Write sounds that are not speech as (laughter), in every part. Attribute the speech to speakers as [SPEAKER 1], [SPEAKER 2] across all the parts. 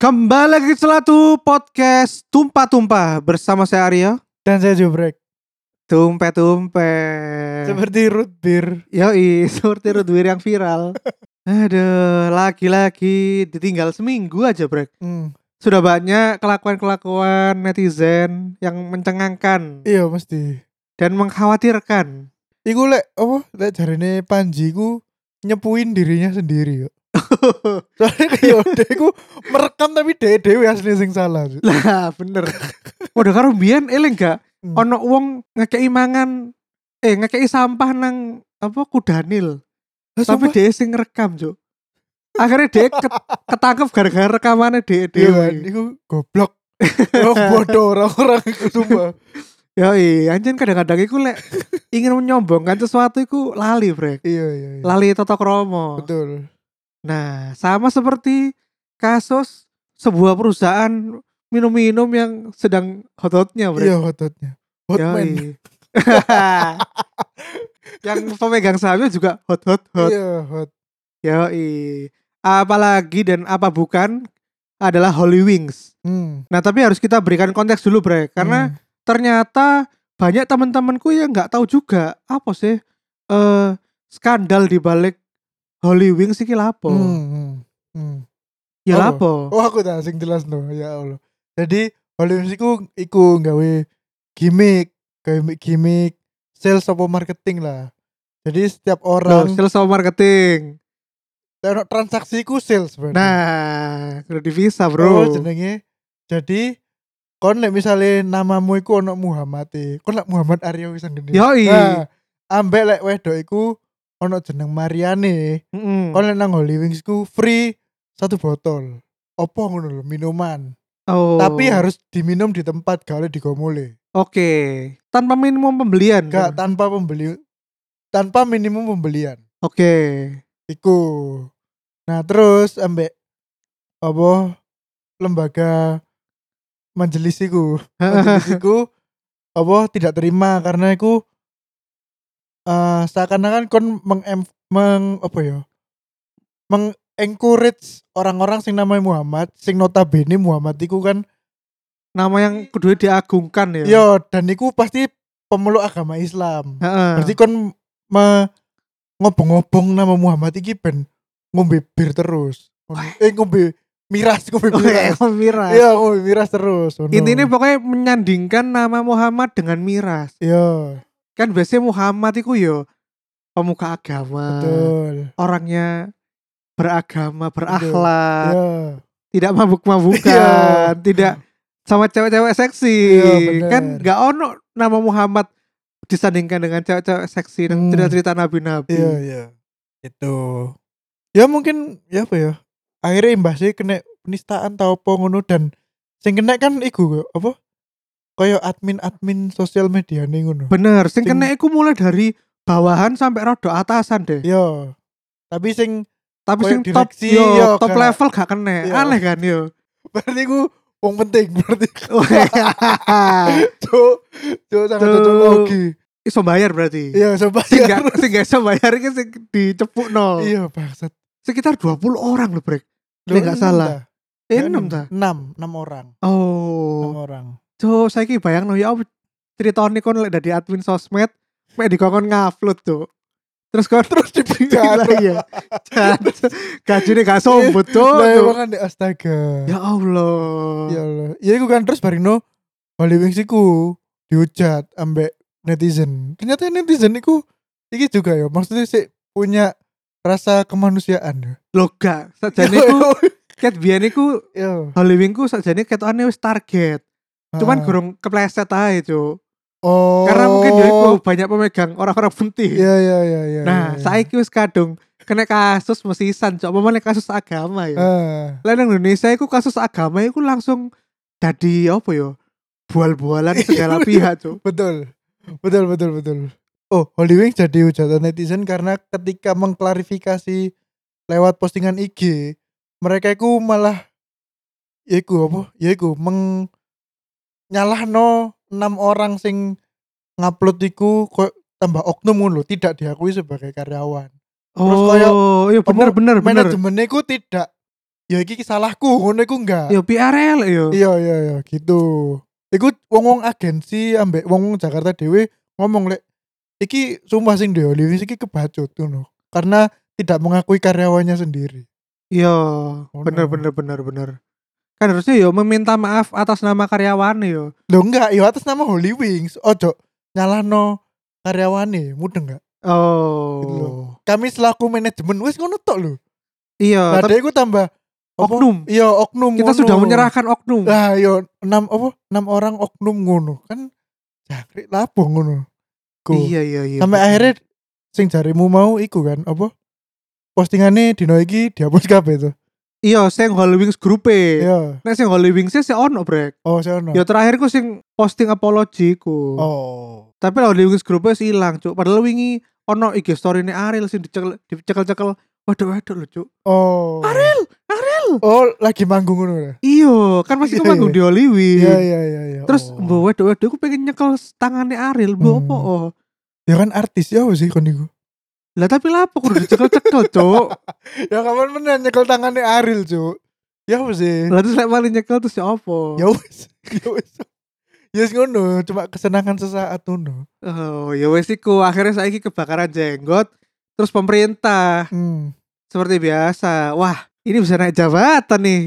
[SPEAKER 1] Kembali lagi ke Celatu Podcast Tumpah-Tumpah bersama saya Aryo.
[SPEAKER 2] Dan saya jubrek.
[SPEAKER 1] Tumpe-tumpe.
[SPEAKER 2] Seperti root beer.
[SPEAKER 1] Yoi, (laughs) seperti Rudwir yang viral. Aduh, lagi-lagi ditinggal seminggu aja, Brek.
[SPEAKER 2] Hmm.
[SPEAKER 1] Sudah banyak kelakuan-kelakuan netizen yang mencengangkan
[SPEAKER 2] Iya mesti.
[SPEAKER 1] dan mengkhawatirkan.
[SPEAKER 2] Iku lek apa? Lek jarine Panji ku nyepuin dirinya sendiri
[SPEAKER 1] (laughs)
[SPEAKER 2] yo. Soalnya kayak dia ku merekam tapi dia dewe asli sing salah. Cuk.
[SPEAKER 1] (laughs) lah, bener. Waduh, karo mbiyen eling gak
[SPEAKER 2] Hmm.
[SPEAKER 1] ono wong ngekei mangan eh ngekei sampah nang apa kudanil.
[SPEAKER 2] Lah,
[SPEAKER 1] tapi
[SPEAKER 2] sumpah,
[SPEAKER 1] dia sing rekam cuk akhirnya dia ket- ketangkep gara-gara rekamannya dia
[SPEAKER 2] iya,
[SPEAKER 1] dewe
[SPEAKER 2] iku goblok. (laughs) Orang bodoh orang-orang iku, sumpah.
[SPEAKER 1] ya iya anjing kadang-kadang iku lek ingin menyombongkan sesuatu iku lali brek
[SPEAKER 2] Iya iya. iya.
[SPEAKER 1] lali toto kromo
[SPEAKER 2] Betul.
[SPEAKER 1] nah sama seperti kasus sebuah perusahaan minum-minum yang sedang hot-hotnya brek
[SPEAKER 2] Iya hototnya.
[SPEAKER 1] Yoi.
[SPEAKER 2] Hotman.
[SPEAKER 1] (laughs) yang pemegang sahamnya juga hot hot hot
[SPEAKER 2] Iya hot. Iya.
[SPEAKER 1] Yoi. Apalagi dan apa bukan adalah Holy Wings.
[SPEAKER 2] Hmm.
[SPEAKER 1] Nah, tapi harus kita berikan konteks dulu, Bre, karena
[SPEAKER 2] Hmm.
[SPEAKER 1] ternyata banyak teman-temanku yang nggak tahu juga apa sih eh skandal di balik Holy Wings iki lapo.
[SPEAKER 2] Hmm, hmm, hmm.
[SPEAKER 1] Ya
[SPEAKER 2] Apa?
[SPEAKER 1] lapo.
[SPEAKER 2] Oh aku tak sing jelas no ya Allah. Jadi Holmes iku iku gawe gimmick, gimmick gimmick sales apa marketing lah. Jadi setiap
[SPEAKER 1] Loh,
[SPEAKER 2] orang
[SPEAKER 1] sales sama marketing.
[SPEAKER 2] Tengok transaksi iku sales berarti.
[SPEAKER 1] Nah, udah divisa,
[SPEAKER 2] Bro.
[SPEAKER 1] Bro.
[SPEAKER 2] jenenge. Jadi kon lek misale namamu iku ono Muhammad e. Kon lek Muhammad Aryo wis gede.
[SPEAKER 1] Yoi.
[SPEAKER 2] Nah, ambek lek wedok iku ono jeneng Mariane.
[SPEAKER 1] Mm-mm.
[SPEAKER 2] Kon lek nang Holy Wings ku free satu botol. Opo ngono lho minuman.
[SPEAKER 1] Oh.
[SPEAKER 2] Tapi harus diminum di tempat gak oleh digomole.
[SPEAKER 1] Oke. Tanpa minimum pembelian.
[SPEAKER 2] Gak
[SPEAKER 1] Bro.
[SPEAKER 2] tanpa pembeli tanpa minimum pembelian.
[SPEAKER 1] Oke.
[SPEAKER 2] Iku. Nah, terus ambek apa lembaga majelis iku. Majelis iku apa tidak terima karena iku eh seakan-akan kon meng, meng apa ya? Meng encourage orang-orang sing namanya Muhammad, sing notabene Muhammad iku kan
[SPEAKER 1] Nama yang kedua diagungkan ya.
[SPEAKER 2] yo dan iku pasti pemeluk agama Islam.
[SPEAKER 1] Heeh.
[SPEAKER 2] Berarti kon me- ngobong-ngobong nama Muhammad iki ben ngombe bir terus. Eh ngombe miras,
[SPEAKER 1] (laughs)
[SPEAKER 2] ngombe
[SPEAKER 1] Oke,
[SPEAKER 2] miras.
[SPEAKER 1] oh, miras.
[SPEAKER 2] Iya, ngombe miras terus. ngono.
[SPEAKER 1] Intinya pokoknya menyandingkan nama Muhammad dengan miras.
[SPEAKER 2] iya,
[SPEAKER 1] Kan biasanya Muhammad itu yo pemuka agama,
[SPEAKER 2] betul.
[SPEAKER 1] orangnya beragama, berakhlak,
[SPEAKER 2] Iya.
[SPEAKER 1] tidak mabuk-mabukan,
[SPEAKER 2] Iya.
[SPEAKER 1] tidak sama cewek-cewek seksi.
[SPEAKER 2] Iya, bener.
[SPEAKER 1] kan nggak ono nama Muhammad disandingkan dengan cewek-cewek seksi dan
[SPEAKER 2] Hmm.
[SPEAKER 1] cerita-cerita nabi-nabi.
[SPEAKER 2] Iya, iya. Itu. Ya mungkin ya apa ya? Akhirnya imbasnya kena penistaan tau apa ngono dan sing kena kan iku apa? Kayak admin-admin sosial media nih ngono.
[SPEAKER 1] Bener, sing
[SPEAKER 2] Sing-
[SPEAKER 1] kena iku mulai dari bawahan sampai rodo atasan deh.
[SPEAKER 2] Iya. Tapi sing
[SPEAKER 1] Tapi
[SPEAKER 2] Kayak
[SPEAKER 1] sing top
[SPEAKER 2] direksi,
[SPEAKER 1] yo,
[SPEAKER 2] yo,
[SPEAKER 1] top
[SPEAKER 2] gak-
[SPEAKER 1] level gak kena.
[SPEAKER 2] kan. Iya.
[SPEAKER 1] Aneh kan
[SPEAKER 2] (laughs)
[SPEAKER 1] yo.
[SPEAKER 2] berarti ku wong penting berarti cuk cuk sangat
[SPEAKER 1] Cuk.
[SPEAKER 2] cocok lagi
[SPEAKER 1] iso bayar berarti.
[SPEAKER 2] iya coba
[SPEAKER 1] Sing gak sing gak iso bayar iki sing dicepukno.
[SPEAKER 2] (laughs) iya bangsat
[SPEAKER 1] Sekitar 20 orang loh, Brek.
[SPEAKER 2] Lu
[SPEAKER 1] Nek gak salah.
[SPEAKER 2] ta?
[SPEAKER 1] Eh,
[SPEAKER 2] Gak
[SPEAKER 1] 6 ta?
[SPEAKER 2] enam enam orang enam
[SPEAKER 1] Oh.
[SPEAKER 2] orang
[SPEAKER 1] Cuk, saiki bayangno ya apa critane kon lek dadi admin sosmed, mek dikon ngupload tuh. Terus kon terus
[SPEAKER 2] dipenjara.
[SPEAKER 1] Iya. Jancuk. Gajine gak sombut
[SPEAKER 2] lah emang
[SPEAKER 1] tuh.
[SPEAKER 2] kan dek, astaga
[SPEAKER 1] Ya
[SPEAKER 2] ya
[SPEAKER 1] Allah.
[SPEAKER 2] Allah ya iku kan terus barino Holy Wings iku dihujat ambek netizen ternyata netizen iku iki juga ya maksudnya sih punya rasa kemanusiaan ya
[SPEAKER 1] Lho gak, sajane
[SPEAKER 2] (laughs)
[SPEAKER 1] iku ket biyen iku
[SPEAKER 2] Iya.
[SPEAKER 1] Halloween ku sajane ketokane wis target. Cuman
[SPEAKER 2] Ah.
[SPEAKER 1] gurung kepleset ae, Cuk.
[SPEAKER 2] oh
[SPEAKER 1] Karena mungkin ya iku banyak pemegang orang-orang penting.
[SPEAKER 2] iya iya iya iya
[SPEAKER 1] Nah,
[SPEAKER 2] iya.
[SPEAKER 1] saiki wis kadung kena kasus mesisan, cok. Apa meneh kasus agama ya.
[SPEAKER 2] Ah.
[SPEAKER 1] Lah nang Indonesia iku kasus agama iku langsung dadi apa ya?
[SPEAKER 2] (laughs)
[SPEAKER 1] Bual-bualan
[SPEAKER 2] Iya.
[SPEAKER 1] segala pihak, cok.
[SPEAKER 2] Betul. Betul, betul, betul. Oh, Holy Wings jadi hujatan netizen karena ketika mengklarifikasi lewat postingan IG, mereka itu malah yaiku apa? Yaiku meng nyalahno enam orang sing ngupload iku kok tambah oknum ngono lho, tidak diakui sebagai karyawan. Terus
[SPEAKER 1] Oh,
[SPEAKER 2] kayak
[SPEAKER 1] iya bener
[SPEAKER 2] apa,
[SPEAKER 1] bener bener.
[SPEAKER 2] Manajemennya iku tidak ya iki salahku ngono iku enggak
[SPEAKER 1] Yo PRL yo.
[SPEAKER 2] iya iya iya gitu iku wong-wong agensi ambek wong-wong Jakarta dhewe ngomong lek iki sumpah sing di Hollywood iki kebacut ngono karena tidak mengakui karyawannya sendiri
[SPEAKER 1] Yo, Iya,
[SPEAKER 2] Ngono.
[SPEAKER 1] bener bener bener bener. Kan harusnya yo meminta maaf atas nama karyawan iya. yo.
[SPEAKER 2] lo enggak ya atas nama Holy Wings ojo nyalahno karyawane mudeng enggak Gitu
[SPEAKER 1] Oh.
[SPEAKER 2] kami selaku manajemen wis ngono tok lho
[SPEAKER 1] Iya,
[SPEAKER 2] nah
[SPEAKER 1] tapi
[SPEAKER 2] dhewe ku tambah apa?
[SPEAKER 1] oknum.
[SPEAKER 2] iya oknum
[SPEAKER 1] Kita
[SPEAKER 2] ngono.
[SPEAKER 1] sudah menyerahkan oknum.
[SPEAKER 2] Lah yo enam apa? Enam orang oknum ngono kan jangkrik labuh ngono. Ku.
[SPEAKER 1] Iya iya iya.
[SPEAKER 2] Sampai
[SPEAKER 1] betul.
[SPEAKER 2] akhirnya sing jarimu mau iku kan apa? Postingannya dino iki dihapus (laughs) kabeh tuh.
[SPEAKER 1] iya sing Holy Wings grupe.
[SPEAKER 2] Iya.
[SPEAKER 1] Nek sing Holy Wings sih ono brek.
[SPEAKER 2] Oh, sono.
[SPEAKER 1] Yo terakhir ku sing posting apology ku.
[SPEAKER 2] Oh.
[SPEAKER 1] Tapi Holy Wings grupnya sih ilang, Cuk. Padahal wingi ono IG story ne Ariel sing dicekel dicekel-cekel. Waduh-waduh lho, Cuk.
[SPEAKER 2] Oh.
[SPEAKER 1] Ariel, Ariel.
[SPEAKER 2] Oh, lagi manggung ngono ya.
[SPEAKER 1] Iya, kan masih
[SPEAKER 2] Iya,
[SPEAKER 1] kemanggung
[SPEAKER 2] iya.
[SPEAKER 1] di Holy Wings.
[SPEAKER 2] Iya iya iya iya.
[SPEAKER 1] Terus
[SPEAKER 2] Oh.
[SPEAKER 1] mbok waduh waduh aku pengen nyekel tangannya Ariel, mbok
[SPEAKER 2] Hmm.
[SPEAKER 1] opo oh.
[SPEAKER 2] ya kan artis ya apa sih kon niku.
[SPEAKER 1] Lah tapi lapo kudu dicekel-cekel, Cuk.
[SPEAKER 2] (laughs) Ya kapan menen nyekel tangannya Aril, Cuk. Ya apa sih?
[SPEAKER 1] Lah terus lek mari nyekel terus ya opo?
[SPEAKER 2] Ya wis. (laughs) Ya wis. Ya wis ngono, cuma kesenangan sesaat ngono.
[SPEAKER 1] Oh, ya wes iku akhirnya saiki kebakaran jenggot terus pemerintah
[SPEAKER 2] Hmm.
[SPEAKER 1] seperti biasa. Wah, ini bisa naik jabatan nih.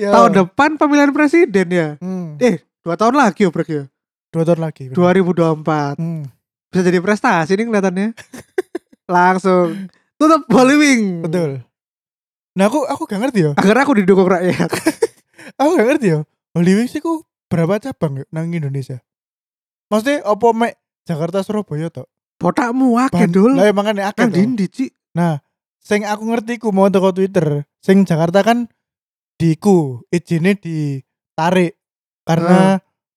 [SPEAKER 2] Ya.
[SPEAKER 1] Tahun depan pemilihan presiden ya.
[SPEAKER 2] Hmm.
[SPEAKER 1] Dua tahun lagi obrek ya.
[SPEAKER 2] Iya. dua tahun lagi bener.
[SPEAKER 1] 2024.
[SPEAKER 2] Hmm.
[SPEAKER 1] Bisa jadi prestasi nih kelihatannya.
[SPEAKER 2] (laughs)
[SPEAKER 1] Langsung tutup Halloween.
[SPEAKER 2] betul nah aku aku gak ngerti ya
[SPEAKER 1] Agar aku didukung rakyat.
[SPEAKER 2] aku gak ngerti ya Holy Wings itu berapa cabang ya nang Indonesia maksudnya apa mek Jakarta Surabaya tok
[SPEAKER 1] Botakmu akeh
[SPEAKER 2] Ban-
[SPEAKER 1] dul.
[SPEAKER 2] lah ya makanya akeh
[SPEAKER 1] Nang
[SPEAKER 2] toh.
[SPEAKER 1] dindi, Ci?
[SPEAKER 2] sing aku ngerti ku mau toko Twitter sing Jakarta kan diku izinnya ditarik
[SPEAKER 1] Ah.
[SPEAKER 2] karena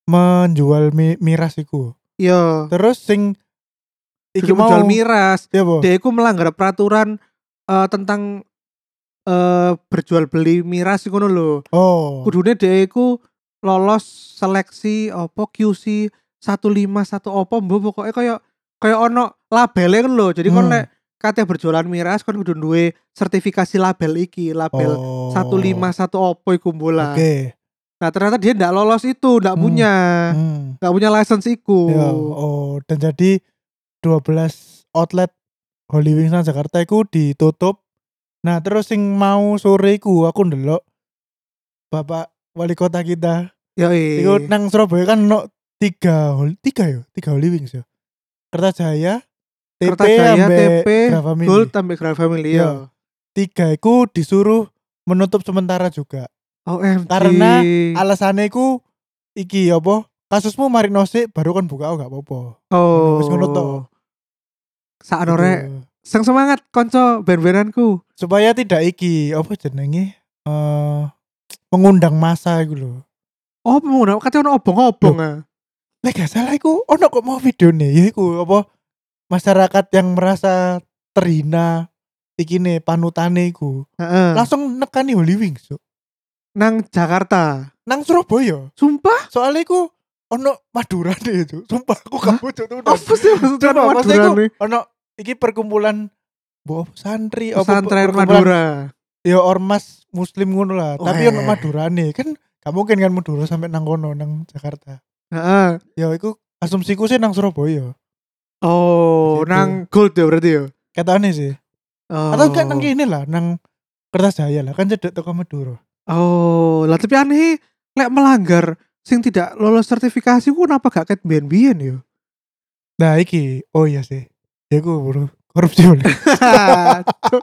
[SPEAKER 2] menjual mi- miras iku
[SPEAKER 1] Yo.
[SPEAKER 2] terus sing
[SPEAKER 1] Iki
[SPEAKER 2] iki mau
[SPEAKER 1] Iya. menjual miras.
[SPEAKER 2] ya boh
[SPEAKER 1] Dia itu melanggar peraturan eh, tentang eh, berjual beli miras iku ngono lho.
[SPEAKER 2] oh
[SPEAKER 1] kudune dhek iku lolos seleksi apa QC 151 apa mbok pokoke kaya kaya ono labele kan lho. Jadi kon
[SPEAKER 2] Hmm.
[SPEAKER 1] nek kate berjualan miras kon kudu duwe sertifikasi label iki, label
[SPEAKER 2] oh.
[SPEAKER 1] 151 apa iku
[SPEAKER 2] oke
[SPEAKER 1] mbola. Nah, ternyata dia ndak lolos itu, ndak
[SPEAKER 2] Hmm.
[SPEAKER 1] punya.
[SPEAKER 2] Hmm.
[SPEAKER 1] Ndak punya license iku.
[SPEAKER 2] Ya, oh, dan jadi 12 outlet Holy Wings nang Jakarta iku ditutup. Nah, terus sing mau sore iku aku ndelok Bapak wali kota kita.
[SPEAKER 1] Yo eh.
[SPEAKER 2] Iku nang Surabaya kan no tiga Hol- tiga yo, tiga Holy Wings yo. Kertajaya, TP
[SPEAKER 1] Kertajaya, TP,
[SPEAKER 2] Grafamini.
[SPEAKER 1] Gold tambah Grand Family yo.
[SPEAKER 2] Tiga iku disuruh menutup sementara juga.
[SPEAKER 1] OMG.
[SPEAKER 2] Karena Alasannya iku iki apa? Kasusmu mari nosik baru kan buka oh gak apa-apa.
[SPEAKER 1] oh.
[SPEAKER 2] wis ngono to.
[SPEAKER 1] Saat orek,
[SPEAKER 2] Gitu.
[SPEAKER 1] sang semangat konco ben-benanku.
[SPEAKER 2] supaya tidak iki apa jenenge eh mengundang masa iku lho.
[SPEAKER 1] Oh, mau katanya ono obong-obong ah.
[SPEAKER 2] Lah gak salah iku ono kok mau videone ya iku apa masyarakat yang merasa terhina ikine panutane iku
[SPEAKER 1] Heeh.
[SPEAKER 2] langsung nekani Holy Wings Cuk.
[SPEAKER 1] nang Jakarta.
[SPEAKER 2] nang Surabaya.
[SPEAKER 1] Sumpah,
[SPEAKER 2] Soalnya iku ono madurane itu. Sumpah aku
[SPEAKER 1] Hah?
[SPEAKER 2] kabut tuh.
[SPEAKER 1] apa sih maksudnya
[SPEAKER 2] Oh. Coba,
[SPEAKER 1] Madura
[SPEAKER 2] maksudnya
[SPEAKER 1] nih?
[SPEAKER 2] Ono iki perkumpulan Mbok apa, santri apa
[SPEAKER 1] Pesantren
[SPEAKER 2] perkumpulan-
[SPEAKER 1] Madura.
[SPEAKER 2] ya ormas muslim ngono lah tapi
[SPEAKER 1] Weh.
[SPEAKER 2] ono madurane kan gak mungkin kan Madura sampai nang kono nang Jakarta
[SPEAKER 1] Heeh.
[SPEAKER 2] ya iku asumsiku sih nang Surabaya
[SPEAKER 1] Oh,
[SPEAKER 2] Situ.
[SPEAKER 1] nang Gold ya berarti ya.
[SPEAKER 2] katane sih
[SPEAKER 1] Oh.
[SPEAKER 2] Gitu. atau enggak nang kene lah nang Kertajaya lah kan cedek toko Madura
[SPEAKER 1] Oh, lah tapi aneh lek melanggar sing tidak lolos sertifikasi ku kenapa gak ket biyen-biyen
[SPEAKER 2] (laughs)
[SPEAKER 1] ya?
[SPEAKER 2] nah iki oh iya sih ya iku bro korupsi oleh
[SPEAKER 1] (laughs) Cuk,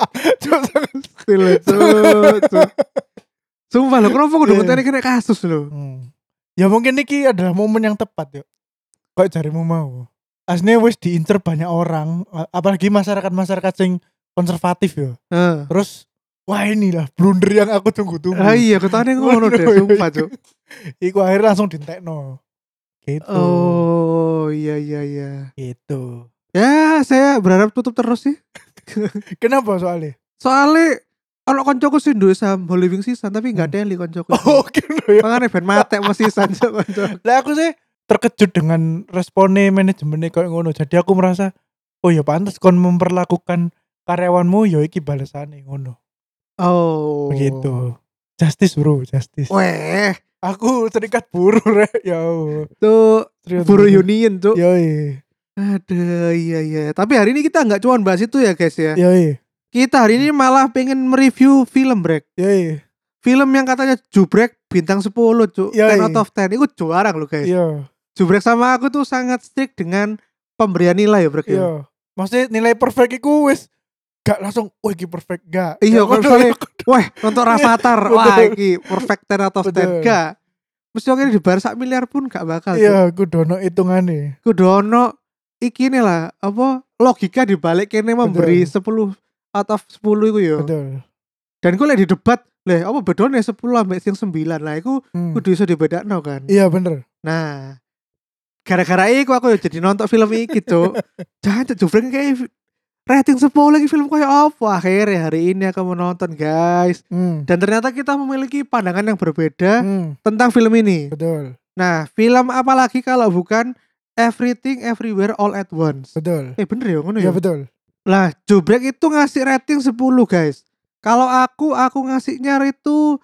[SPEAKER 1] cuk, cuk. Sumpah lo kenapa kudu
[SPEAKER 2] Iya.
[SPEAKER 1] ngenteni kena kasus lo?
[SPEAKER 2] hmm. ya mungkin iki adalah momen yang tepat yuk kok jarimu mau aslinya wis diincer banyak orang apalagi masyarakat-masyarakat sing konservatif ya
[SPEAKER 1] Heeh.
[SPEAKER 2] terus wah inilah blunder yang aku tunggu-tunggu
[SPEAKER 1] Ah iya, ketane ngono deh,
[SPEAKER 2] Waduh,
[SPEAKER 1] sumpah, Cuk.
[SPEAKER 2] iku akhirnya langsung dintekno gitu
[SPEAKER 1] Oh, iya iya iya.
[SPEAKER 2] gitu
[SPEAKER 1] Ya, saya berharap tutup terus sih.
[SPEAKER 2] kenapa soalnya
[SPEAKER 1] Soalnya kalau koncoku sih duwe saham Holy Wings sisan tapi enggak teli koncoku.
[SPEAKER 2] (laughs) oh gitu ya
[SPEAKER 1] Mangane ben mate mesti sisan Cuk, konco.
[SPEAKER 2] lah aku sih terkejut dengan responnya manajemennya kayak ngono jadi aku merasa oh ya pantas kon memperlakukan karyawanmu ya iki balasane ngono
[SPEAKER 1] Oh.
[SPEAKER 2] begitu justice bro justice
[SPEAKER 1] Weh,
[SPEAKER 2] aku serikat buruh (laughs) rek ya Allah.
[SPEAKER 1] tuh
[SPEAKER 2] Serikat
[SPEAKER 1] buruh union tuh.
[SPEAKER 2] Iya. yoi
[SPEAKER 1] Ada, iya iya. Tapi hari ini kita nggak cuma bahas itu ya guys ya.
[SPEAKER 2] yoi
[SPEAKER 1] Kita hari ini malah pengen mereview film Brek.
[SPEAKER 2] yoi
[SPEAKER 1] Film yang katanya Jubrek bintang 10 cu.
[SPEAKER 2] Yoi.
[SPEAKER 1] 10 out of 10. Itu juara loh guys.
[SPEAKER 2] iya
[SPEAKER 1] Jubrek sama aku tuh sangat strict dengan pemberian nilai ya Brek. ya.
[SPEAKER 2] iya maksudnya nilai perfect iku wis gak langsung oh iki perfect gak
[SPEAKER 1] Iya,
[SPEAKER 2] Gak ngono,
[SPEAKER 1] maksudnya-
[SPEAKER 2] ya.
[SPEAKER 1] Weh, untuk Rafathar.
[SPEAKER 2] Betul.
[SPEAKER 1] Wah, ini perfect 10 out of 10.
[SPEAKER 2] Betul.
[SPEAKER 1] Gak. Mesti akhirnya dibayar sak miliar pun gak bakal.
[SPEAKER 2] iya aku dono hitungannya
[SPEAKER 1] Kudu ono iki nih lah apa logika dibalik kene memberi 10 out of 10 iku yo.
[SPEAKER 2] betul
[SPEAKER 1] Dan gue lagi debat, leh apa bedone 10 sampai sing 9 lah iku
[SPEAKER 2] Hmm.
[SPEAKER 1] kudu iso dibedakno kan.
[SPEAKER 2] iya bener
[SPEAKER 1] Nah, gara-gara iku aku yo jadi nonton film iki,
[SPEAKER 2] (laughs)
[SPEAKER 1] Cuk. Jangan Cuk Jufrin kayak rating 10 lagi film kayak apa akhirnya hari ini aku menonton guys
[SPEAKER 2] Hmm.
[SPEAKER 1] dan ternyata kita memiliki pandangan yang berbeda
[SPEAKER 2] Hmm,
[SPEAKER 1] tentang film ini
[SPEAKER 2] betul
[SPEAKER 1] nah film apa lagi kalau bukan Everything Everywhere All at Once
[SPEAKER 2] betul
[SPEAKER 1] eh bener ya ngono ya
[SPEAKER 2] iya betul
[SPEAKER 1] lah Jubrek itu ngasih rating 10 guys kalau aku aku ngasihnya itu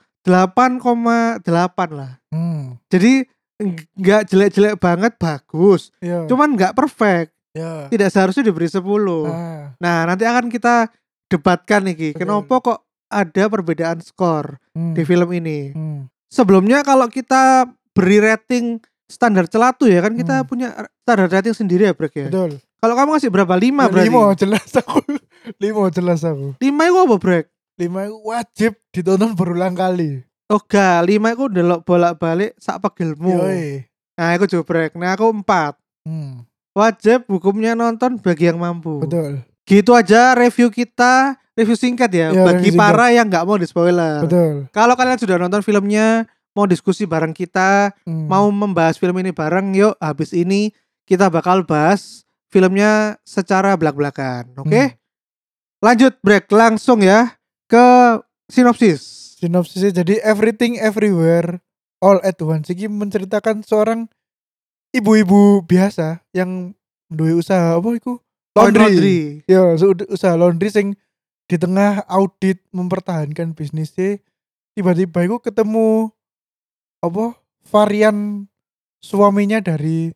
[SPEAKER 1] 8,8 lah
[SPEAKER 2] hmm
[SPEAKER 1] jadi ng- nggak jelek-jelek banget bagus
[SPEAKER 2] iya
[SPEAKER 1] cuman nggak perfect
[SPEAKER 2] iya
[SPEAKER 1] tidak seharusnya diberi 10
[SPEAKER 2] Ah,
[SPEAKER 1] nah nanti akan kita debatkan nih
[SPEAKER 2] Betul.
[SPEAKER 1] kenapa kok ada perbedaan skor
[SPEAKER 2] hmm,
[SPEAKER 1] di film ini
[SPEAKER 2] hmm.
[SPEAKER 1] sebelumnya kalau kita beri rating standar celatu ya kan kita
[SPEAKER 2] Hmm.
[SPEAKER 1] punya standar rating sendiri ya Brek ya
[SPEAKER 2] betul
[SPEAKER 1] kalau kamu ngasih berapa 5
[SPEAKER 2] Ya,
[SPEAKER 1] berarti
[SPEAKER 2] limo jelas aku (laughs) limo jelas aku
[SPEAKER 1] 5 itu apa Brek?
[SPEAKER 2] lima itu wajib ditonton berulang kali
[SPEAKER 1] Oh gak, lima aku delok bolak-balik sak pegelmu.
[SPEAKER 2] yoi
[SPEAKER 1] Nah aku jubrek, nah aku empat.
[SPEAKER 2] hmm,
[SPEAKER 1] Wajib hukumnya nonton bagi yang mampu.
[SPEAKER 2] betul
[SPEAKER 1] Gitu aja review kita, review singkat ya,
[SPEAKER 2] Iya,
[SPEAKER 1] bagi
[SPEAKER 2] review singkat.
[SPEAKER 1] para yang nggak mau di spoiler.
[SPEAKER 2] betul
[SPEAKER 1] Kalau kalian sudah nonton filmnya, mau diskusi bareng kita,
[SPEAKER 2] Hmm.
[SPEAKER 1] mau membahas film ini bareng, yuk habis ini kita bakal bahas filmnya secara belak-belakan, oke?
[SPEAKER 2] Hmm.
[SPEAKER 1] Lanjut break langsung ya ke sinopsis.
[SPEAKER 2] sinopsisnya jadi everything everywhere all at once ini menceritakan seorang ibu-ibu biasa yang duwe usaha apa itu
[SPEAKER 1] Point
[SPEAKER 2] laundry, ya usaha laundry sing di tengah audit mempertahankan bisnisnya tiba-tiba itu ketemu apa varian suaminya dari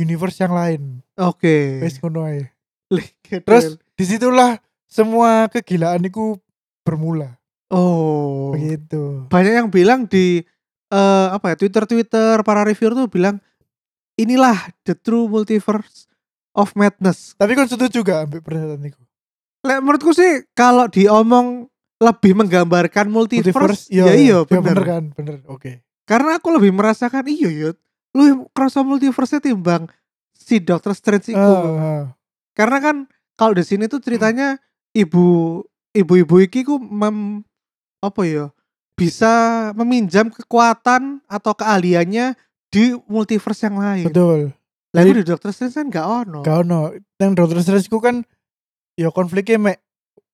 [SPEAKER 2] universe yang lain
[SPEAKER 1] Oke. Iya.
[SPEAKER 2] wis ngono ae.
[SPEAKER 1] Terus
[SPEAKER 2] terus disitulah semua kegilaan itu bermula
[SPEAKER 1] oh
[SPEAKER 2] begitu
[SPEAKER 1] banyak yang bilang di eh, apa ya Twitter Twitter para reviewer tuh bilang inilah the true multiverse of madness.
[SPEAKER 2] tapi kan setuju gak ambil pernyataan itu
[SPEAKER 1] Lek menurutku sih kalau diomong lebih menggambarkan multiverse, ya iya
[SPEAKER 2] bener.
[SPEAKER 1] bener.
[SPEAKER 2] kan bener oke
[SPEAKER 1] Karena aku lebih merasakan iya iya lu kerasa multiverse timbang si Doctor Strange itu.
[SPEAKER 2] Ah, ah.
[SPEAKER 1] Karena kan kalau di sini
[SPEAKER 2] Hmm.
[SPEAKER 1] tuh ceritanya ibu ibu-ibu iki ku mem, apa ya bisa meminjam kekuatan atau keahliannya di multiverse yang lain.
[SPEAKER 2] betul
[SPEAKER 1] Lah iku di Doctor Strange kan gak ono.
[SPEAKER 2] gak ono yang Doctor Strange ku kan ya konfliknya mek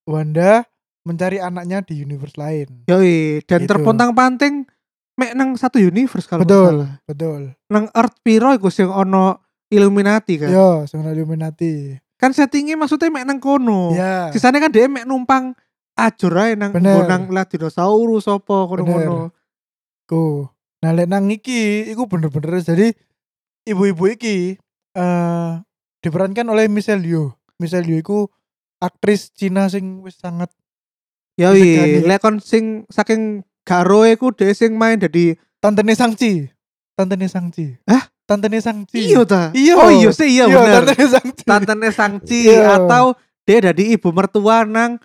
[SPEAKER 2] Wanda mencari anaknya di universe lain
[SPEAKER 1] Yoi, dan
[SPEAKER 2] Gitu.
[SPEAKER 1] terpontang-panting mek nang satu universe kalau nggak
[SPEAKER 2] Betul.
[SPEAKER 1] salah.
[SPEAKER 2] betul
[SPEAKER 1] Nang Earth Piro iku sing ono Illuminati kan.
[SPEAKER 2] ya sebenarnya Illuminati
[SPEAKER 1] Kan settingnya maksudnya mek nang kono.
[SPEAKER 2] ya
[SPEAKER 1] Sisanya kan dia mek numpang ajur ae nang
[SPEAKER 2] Bener.
[SPEAKER 1] nggo nang lah dinosaurus apa kono-kono.
[SPEAKER 2] ku nah lek nang iki iku bener-bener jadi ibu-ibu iki eh diperankan oleh Michelle Yeoh Michelle Yeoh iku aktris Cina sing wis sangat
[SPEAKER 1] Yoi,
[SPEAKER 2] Disegani.
[SPEAKER 1] lekon sing saking garoe ku dhewe sing main dadi
[SPEAKER 2] tantene Sangci tantene Sangci
[SPEAKER 1] Hah?
[SPEAKER 2] tantene Sangci
[SPEAKER 1] iyo ta.
[SPEAKER 2] Iya.
[SPEAKER 1] Oh iya sih iya bener.
[SPEAKER 2] tantene Sangci
[SPEAKER 1] Tantene Sangci
[SPEAKER 2] Iya.
[SPEAKER 1] atau dia dadi ibu mertua nang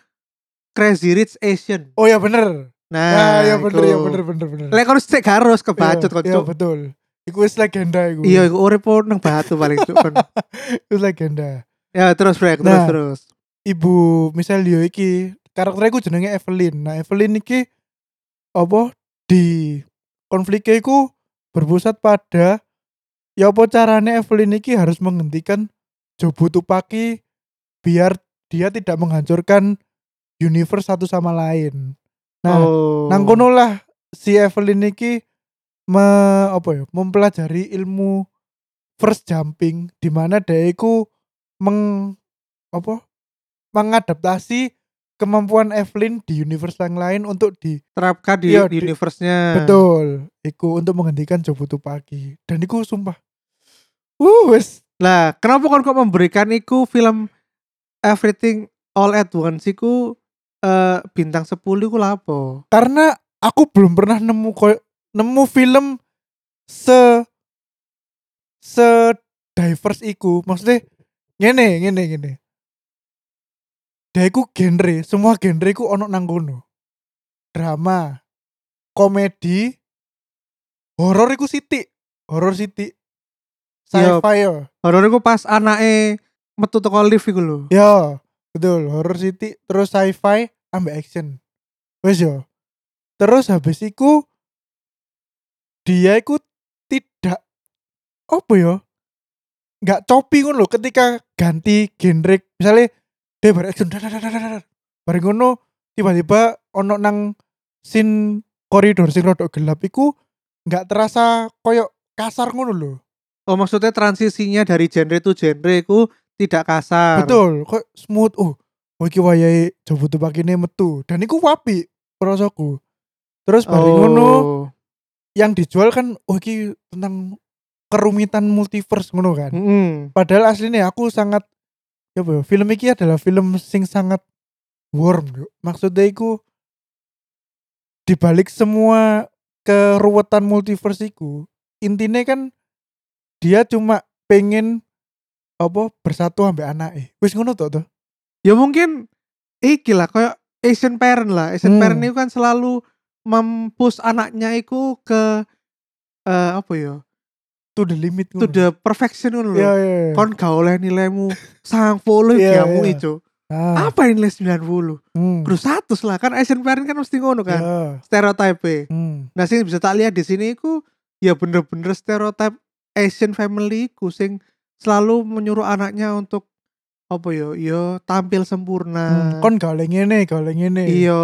[SPEAKER 1] Crazy Rich Asian.
[SPEAKER 2] oh ya bener
[SPEAKER 1] Nah,
[SPEAKER 2] nah, ya bener
[SPEAKER 1] iku.
[SPEAKER 2] ya bener bener bener
[SPEAKER 1] Lekon sik garos kebacut
[SPEAKER 2] Iya, iya,
[SPEAKER 1] kocok.
[SPEAKER 2] betul iku wis legenda iku (laughs)
[SPEAKER 1] Iya, iku urip pun nang batu paling cuk kon.
[SPEAKER 2] wis legenda
[SPEAKER 1] Ya terus break terus
[SPEAKER 2] Nah.
[SPEAKER 1] terus.
[SPEAKER 2] ibu misalnya yo iki karakternya iku jenenge Evelyn nah Evelyn iki apa di konfliknya iku berpusat pada ya apa caranya Evelyn iki harus menghentikan Jobu Tupaki biar dia tidak menghancurkan universe satu sama lain nah
[SPEAKER 1] oh.
[SPEAKER 2] nang kono lah si Evelyn iki me, apa ya, mempelajari ilmu first jumping di mana dia iku meng apa mengadaptasi kemampuan Evelyn di universe yang lain untuk di
[SPEAKER 1] terapkan di
[SPEAKER 2] Iya, di-
[SPEAKER 1] universe-nya.
[SPEAKER 2] betul iku untuk menghentikan Jobutu pagi dan iku sumpah uh wes
[SPEAKER 1] Lah, kenapa kon kok memberikan iku film Everything All at Once iku eh, bintang 10 iku lapo?
[SPEAKER 2] karena aku belum pernah nemu ko- nemu film se se diverse iku maksudnya ngene ngene ngene dia iku genre semua genre iku ono nang kono drama komedi horor iku sithik horor sithik
[SPEAKER 1] Iya.
[SPEAKER 2] sci-fi yo
[SPEAKER 1] Horor iku pas anake metu teko lift iku lho.
[SPEAKER 2] Ya, betul. Horror City terus sci-fi ambek action. Wes yo. Terus habis iku dia iku tidak apa ya? Enggak copi ngono lho ketika ganti genre. Misalnya dia bar action dar, dar, dar, dar, dar. Bareng ngono tiba-tiba ono nang sin koridor sing rodok gelap iku enggak terasa koyok kasar ngono lho.
[SPEAKER 1] Oh, maksudnya transisinya dari genre to genre iku tidak kasar.
[SPEAKER 2] Betul, kok smooth. Oh, oh iki wayahe jobo pakine metu. Dan iku wapi perasaku. Terus bari ngono
[SPEAKER 1] Oh.
[SPEAKER 2] yang dijual kan oh iki tentang kerumitan multiverse ngono kan.
[SPEAKER 1] Hmm. Mm-mm.
[SPEAKER 2] Padahal aslinya aku sangat ya apa ya, film iki adalah film sing sangat warm yuk. Maksudnya iku dibalik semua keruwetan multiverse iku, intinya kan dia cuma pengen apa bersatu ambek anake. Wis ngono tok to?
[SPEAKER 1] Ya mungkin iki lah kayak Asian parent lah. Asian
[SPEAKER 2] Hmm.
[SPEAKER 1] parent itu kan selalu mempus anaknya iku ke eh, apa ya?
[SPEAKER 2] to the limit
[SPEAKER 1] To the perfection ngono lho.
[SPEAKER 2] Hmm. ya ya ya.
[SPEAKER 1] kon gak oleh nilaimu sang puluh
[SPEAKER 2] Iya,
[SPEAKER 1] kamu
[SPEAKER 2] iya.
[SPEAKER 1] itu
[SPEAKER 2] ah,
[SPEAKER 1] apa ini nilai 90
[SPEAKER 2] hmm,
[SPEAKER 1] kudu 100 lah kan Asian parent kan mesti ngono kan
[SPEAKER 2] ya,
[SPEAKER 1] stereotipe
[SPEAKER 2] hmm.
[SPEAKER 1] nah sing bisa tak lihat di sini iku ya bener-bener stereotip Asian family ku sing selalu menyuruh anaknya untuk apa yo yo tampil
[SPEAKER 2] Hmm,
[SPEAKER 1] sempurna
[SPEAKER 2] kon gak oleh ngene gak oleh ngene
[SPEAKER 1] Ah. iya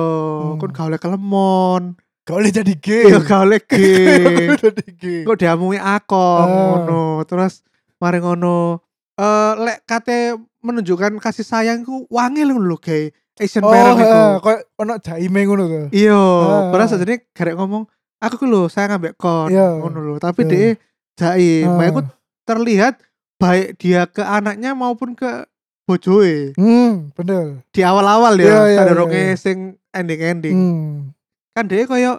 [SPEAKER 2] Hmm.
[SPEAKER 1] kon gak oleh kelemon
[SPEAKER 2] (laughs) gak oleh jadi gay
[SPEAKER 1] iya gak oleh gay
[SPEAKER 2] Gak oleh jadi gay
[SPEAKER 1] kok diamungi akom
[SPEAKER 2] Ah.
[SPEAKER 1] ngono terus mari ngono eh lek kate menunjukkan kasih sayangku wangi lho kayak Asian
[SPEAKER 2] oh
[SPEAKER 1] parent itu
[SPEAKER 2] ha, kok ono jaime ngono to
[SPEAKER 1] iya
[SPEAKER 2] Ah.
[SPEAKER 1] padahal sajane garek ngomong aku ku lho sayang ambek kon
[SPEAKER 2] Iya.
[SPEAKER 1] ngono lho tapi
[SPEAKER 2] Iya.
[SPEAKER 1] dia jaim
[SPEAKER 2] Ah.
[SPEAKER 1] uh. aku terlihat baik dia ke anaknya maupun ke bojoe
[SPEAKER 2] hmm bener
[SPEAKER 1] di awal-awal ya
[SPEAKER 2] Iya, iya,
[SPEAKER 1] yeah,
[SPEAKER 2] iya, iya.
[SPEAKER 1] sing ending-ending
[SPEAKER 2] hmm
[SPEAKER 1] kan dia koyo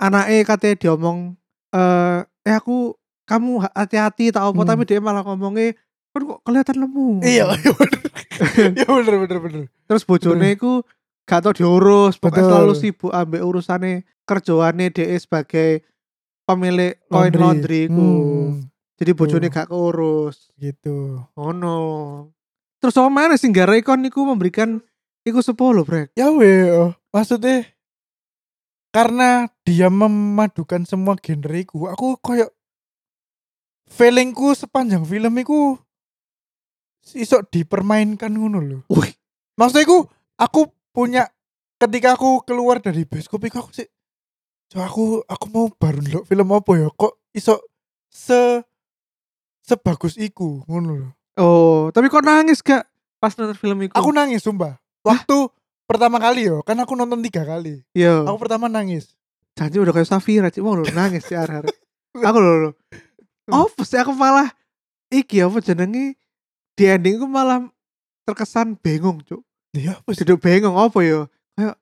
[SPEAKER 1] anake katanya diomong eh eh aku kamu ha- hati-hati tak apa
[SPEAKER 2] Hmm.
[SPEAKER 1] tapi dia malah ngomongnya kan kok kelihatan lemu (laughs)
[SPEAKER 2] iya iya bener iya bener bener bener
[SPEAKER 1] terus bojone iku gak tau diurus pokoknya
[SPEAKER 2] Betul.
[SPEAKER 1] selalu sibuk ambek urusane kerjaane dia sebagai pemilik koin laundry iku
[SPEAKER 2] Hmm,
[SPEAKER 1] jadi bojone
[SPEAKER 2] Betul.
[SPEAKER 1] gak keurus
[SPEAKER 2] gitu
[SPEAKER 1] oh no terus sama mana sing gara ikon iku memberikan iku 10 brek
[SPEAKER 2] ya weh oh. maksudnya karena dia memadukan semua genreku aku koyok feelingku sepanjang film iku isok dipermainkan ngono lho
[SPEAKER 1] wih
[SPEAKER 2] maksudnya aku aku punya ketika aku keluar dari bioskop iku aku sih "Jo, aku aku mau baru ndelok film apa ya kok iso se sebagus iku ngono lho
[SPEAKER 1] oh tapi kok nangis gak pas nonton film iku
[SPEAKER 2] aku nangis sumpah waktu pertama kali yo kan aku nonton tiga kali
[SPEAKER 1] Iya.
[SPEAKER 2] aku pertama nangis
[SPEAKER 1] janji udah kayak Safira cik mau lu nangis sih hari aku lho lho apa sih aku malah iki apa jenenge di ending aku malah terkesan bengong cuk
[SPEAKER 2] ya apa sih?
[SPEAKER 1] duduk bengong apa ya kayak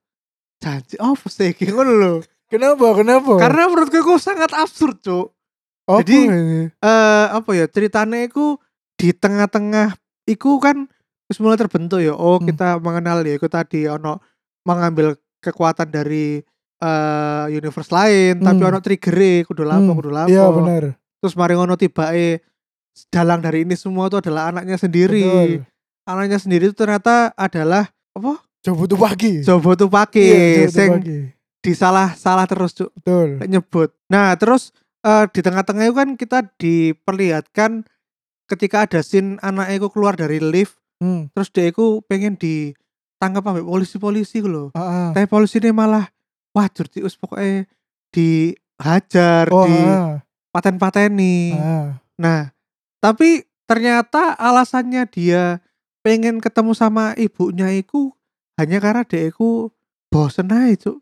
[SPEAKER 1] janji apa sih iki ngono lho
[SPEAKER 2] kenapa kenapa
[SPEAKER 1] karena menurutku aku sangat absurd cuk
[SPEAKER 2] Apa
[SPEAKER 1] jadi-
[SPEAKER 2] ini?
[SPEAKER 1] eh apa ya ceritanya iku di tengah-tengah iku kan terus mulai terbentuk ya oh
[SPEAKER 2] Hmm.
[SPEAKER 1] kita mengenal ya iku tadi ono mengambil kekuatan dari eh universe lain tapi
[SPEAKER 2] Hmm.
[SPEAKER 1] ono trigger e, kudu lapo
[SPEAKER 2] Hmm,
[SPEAKER 1] kudu lapo
[SPEAKER 2] iya benar
[SPEAKER 1] terus mari ngono tibae dalang dari ini semua itu adalah anaknya sendiri
[SPEAKER 2] benar.
[SPEAKER 1] anaknya sendiri itu ternyata adalah apa
[SPEAKER 2] jauh butuh pagi
[SPEAKER 1] Jobo Tupaki
[SPEAKER 2] Iya, jauh butuh
[SPEAKER 1] sing
[SPEAKER 2] pagi.
[SPEAKER 1] disalah salah terus cuk
[SPEAKER 2] betul
[SPEAKER 1] Lek nyebut nah terus eh, di tengah-tengah itu kan kita diperlihatkan ketika ada scene anaknya itu keluar dari lift
[SPEAKER 2] hmm.
[SPEAKER 1] terus dia itu pengen ditangkap sampai polisi-polisi gitu loh
[SPEAKER 2] ah, ah.
[SPEAKER 1] tapi polisi ini malah wajur tius pokoknya dihajar
[SPEAKER 2] oh
[SPEAKER 1] di
[SPEAKER 2] ah,
[SPEAKER 1] paten-pateni
[SPEAKER 2] ah.
[SPEAKER 1] Nah, tapi ternyata alasannya dia pengen ketemu sama ibunya itu hanya karena dia iku bosen aja Cuk.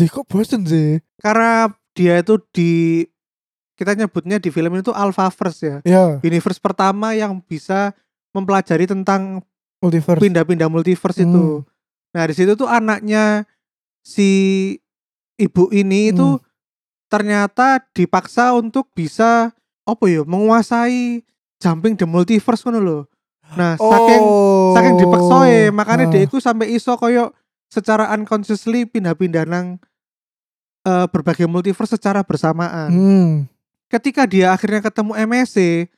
[SPEAKER 2] Lih kok bosen sih?
[SPEAKER 1] karena dia itu di kita nyebutnya di film itu Alphaverse ya
[SPEAKER 2] Ya,
[SPEAKER 1] universe pertama yang bisa mempelajari tentang
[SPEAKER 2] multiverse.
[SPEAKER 1] pindah-pindah multiverse itu
[SPEAKER 2] Hmm.
[SPEAKER 1] nah di situ tuh anaknya si ibu ini itu ternyata dipaksa untuk bisa apa ya menguasai jumping the multiverse kan loh nah saking
[SPEAKER 2] Oh.
[SPEAKER 1] saking dipaksoe makanya
[SPEAKER 2] Ah.
[SPEAKER 1] dia itu sampai iso koyo secara unconsciously pindah-pindah nang eh, berbagai multiverse secara bersamaan
[SPEAKER 2] Hmm.
[SPEAKER 1] ketika dia akhirnya ketemu MSC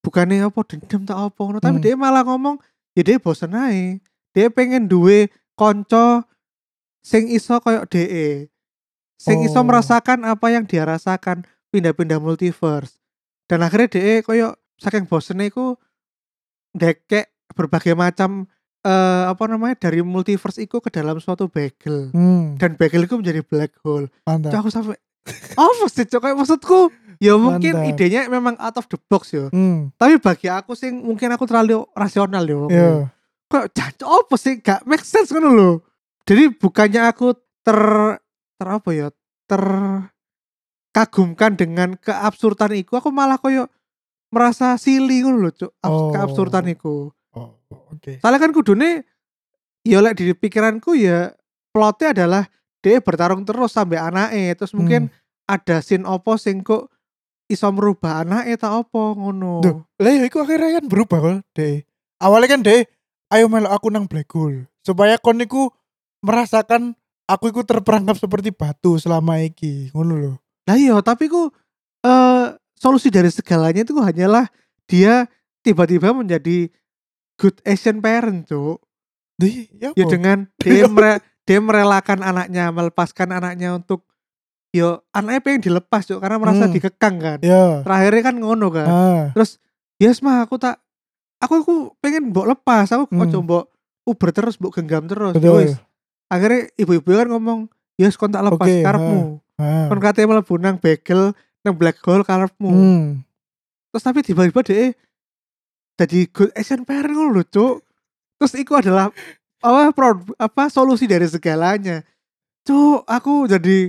[SPEAKER 1] bukannya apa dendam tak apa ngono, tapi
[SPEAKER 2] Hmm.
[SPEAKER 1] dia malah ngomong ya dia bosen aja dia pengen duwe konco sing iso koyok DE sing iso
[SPEAKER 2] Oh.
[SPEAKER 1] merasakan apa yang dia rasakan pindah-pindah multiverse dan akhirnya DE koyok saking bosennya iku dekek berbagai macam eh, apa namanya dari multiverse iku ke dalam suatu bagel
[SPEAKER 2] Hmm.
[SPEAKER 1] dan bagel itu menjadi black hole Cuk,
[SPEAKER 2] Mantap.
[SPEAKER 1] aku sampai apa sih cok kayak maksudku ya mungkin
[SPEAKER 2] Mantap.
[SPEAKER 1] idenya memang out of the box ya
[SPEAKER 2] Hmm.
[SPEAKER 1] tapi bagi aku sih mungkin aku terlalu rasional ya
[SPEAKER 2] Ya.
[SPEAKER 1] yeah. kok jancok apa sih gak make sense kan loh jadi bukannya aku ter ter apa ya terkagumkan dengan keabsurdan iku aku malah koyo merasa silly ngono lho cuk abs-
[SPEAKER 2] Oh.
[SPEAKER 1] keabsurdan iku
[SPEAKER 2] Oh, oke.
[SPEAKER 1] Soalnya kan kudune ya lek di pikiranku ya plotnya adalah dia bertarung terus sampai anake terus
[SPEAKER 2] Hmm.
[SPEAKER 1] mungkin ada scene opo sing kok iso merubah anake ta opo ngono.
[SPEAKER 2] Duh. Lah ya iku akhirnya kan berubah kok, Dek. Awalnya kan Dek, ayo melu aku nang black hole supaya kon niku merasakan aku iku terperangkap seperti batu selama iki, ngono lho.
[SPEAKER 1] Lah iya tapi ku eh solusi dari segalanya itu hanyalah dia tiba-tiba menjadi good Asian parent tuh
[SPEAKER 2] Dih, ya
[SPEAKER 1] ya
[SPEAKER 2] apa? (laughs)
[SPEAKER 1] dengan dia mere- dia merelakan anaknya melepaskan anaknya untuk yo anaknya pengen dilepas cuk karena merasa
[SPEAKER 2] Hmm.
[SPEAKER 1] dikekang kan
[SPEAKER 2] Ya.
[SPEAKER 1] terakhirnya kan ngono kan
[SPEAKER 2] Ah,
[SPEAKER 1] terus yes mah aku tak aku aku pengen mbok lepas aku
[SPEAKER 2] Hmm.
[SPEAKER 1] ojo mbok uber terus mbok genggam terus
[SPEAKER 2] betul.
[SPEAKER 1] Wis. akhirnya ibu-ibu kan ngomong yes kon tak lepas
[SPEAKER 2] Oke,
[SPEAKER 1] karepmu
[SPEAKER 2] Ah.
[SPEAKER 1] kon katanya mlebu nang bagel nang black hole karepmu
[SPEAKER 2] Hmm.
[SPEAKER 1] terus tapi tiba-tiba deh jadi good action parent ngono lho cuk terus iku adalah apa pro- apa solusi dari segalanya cuk aku jadi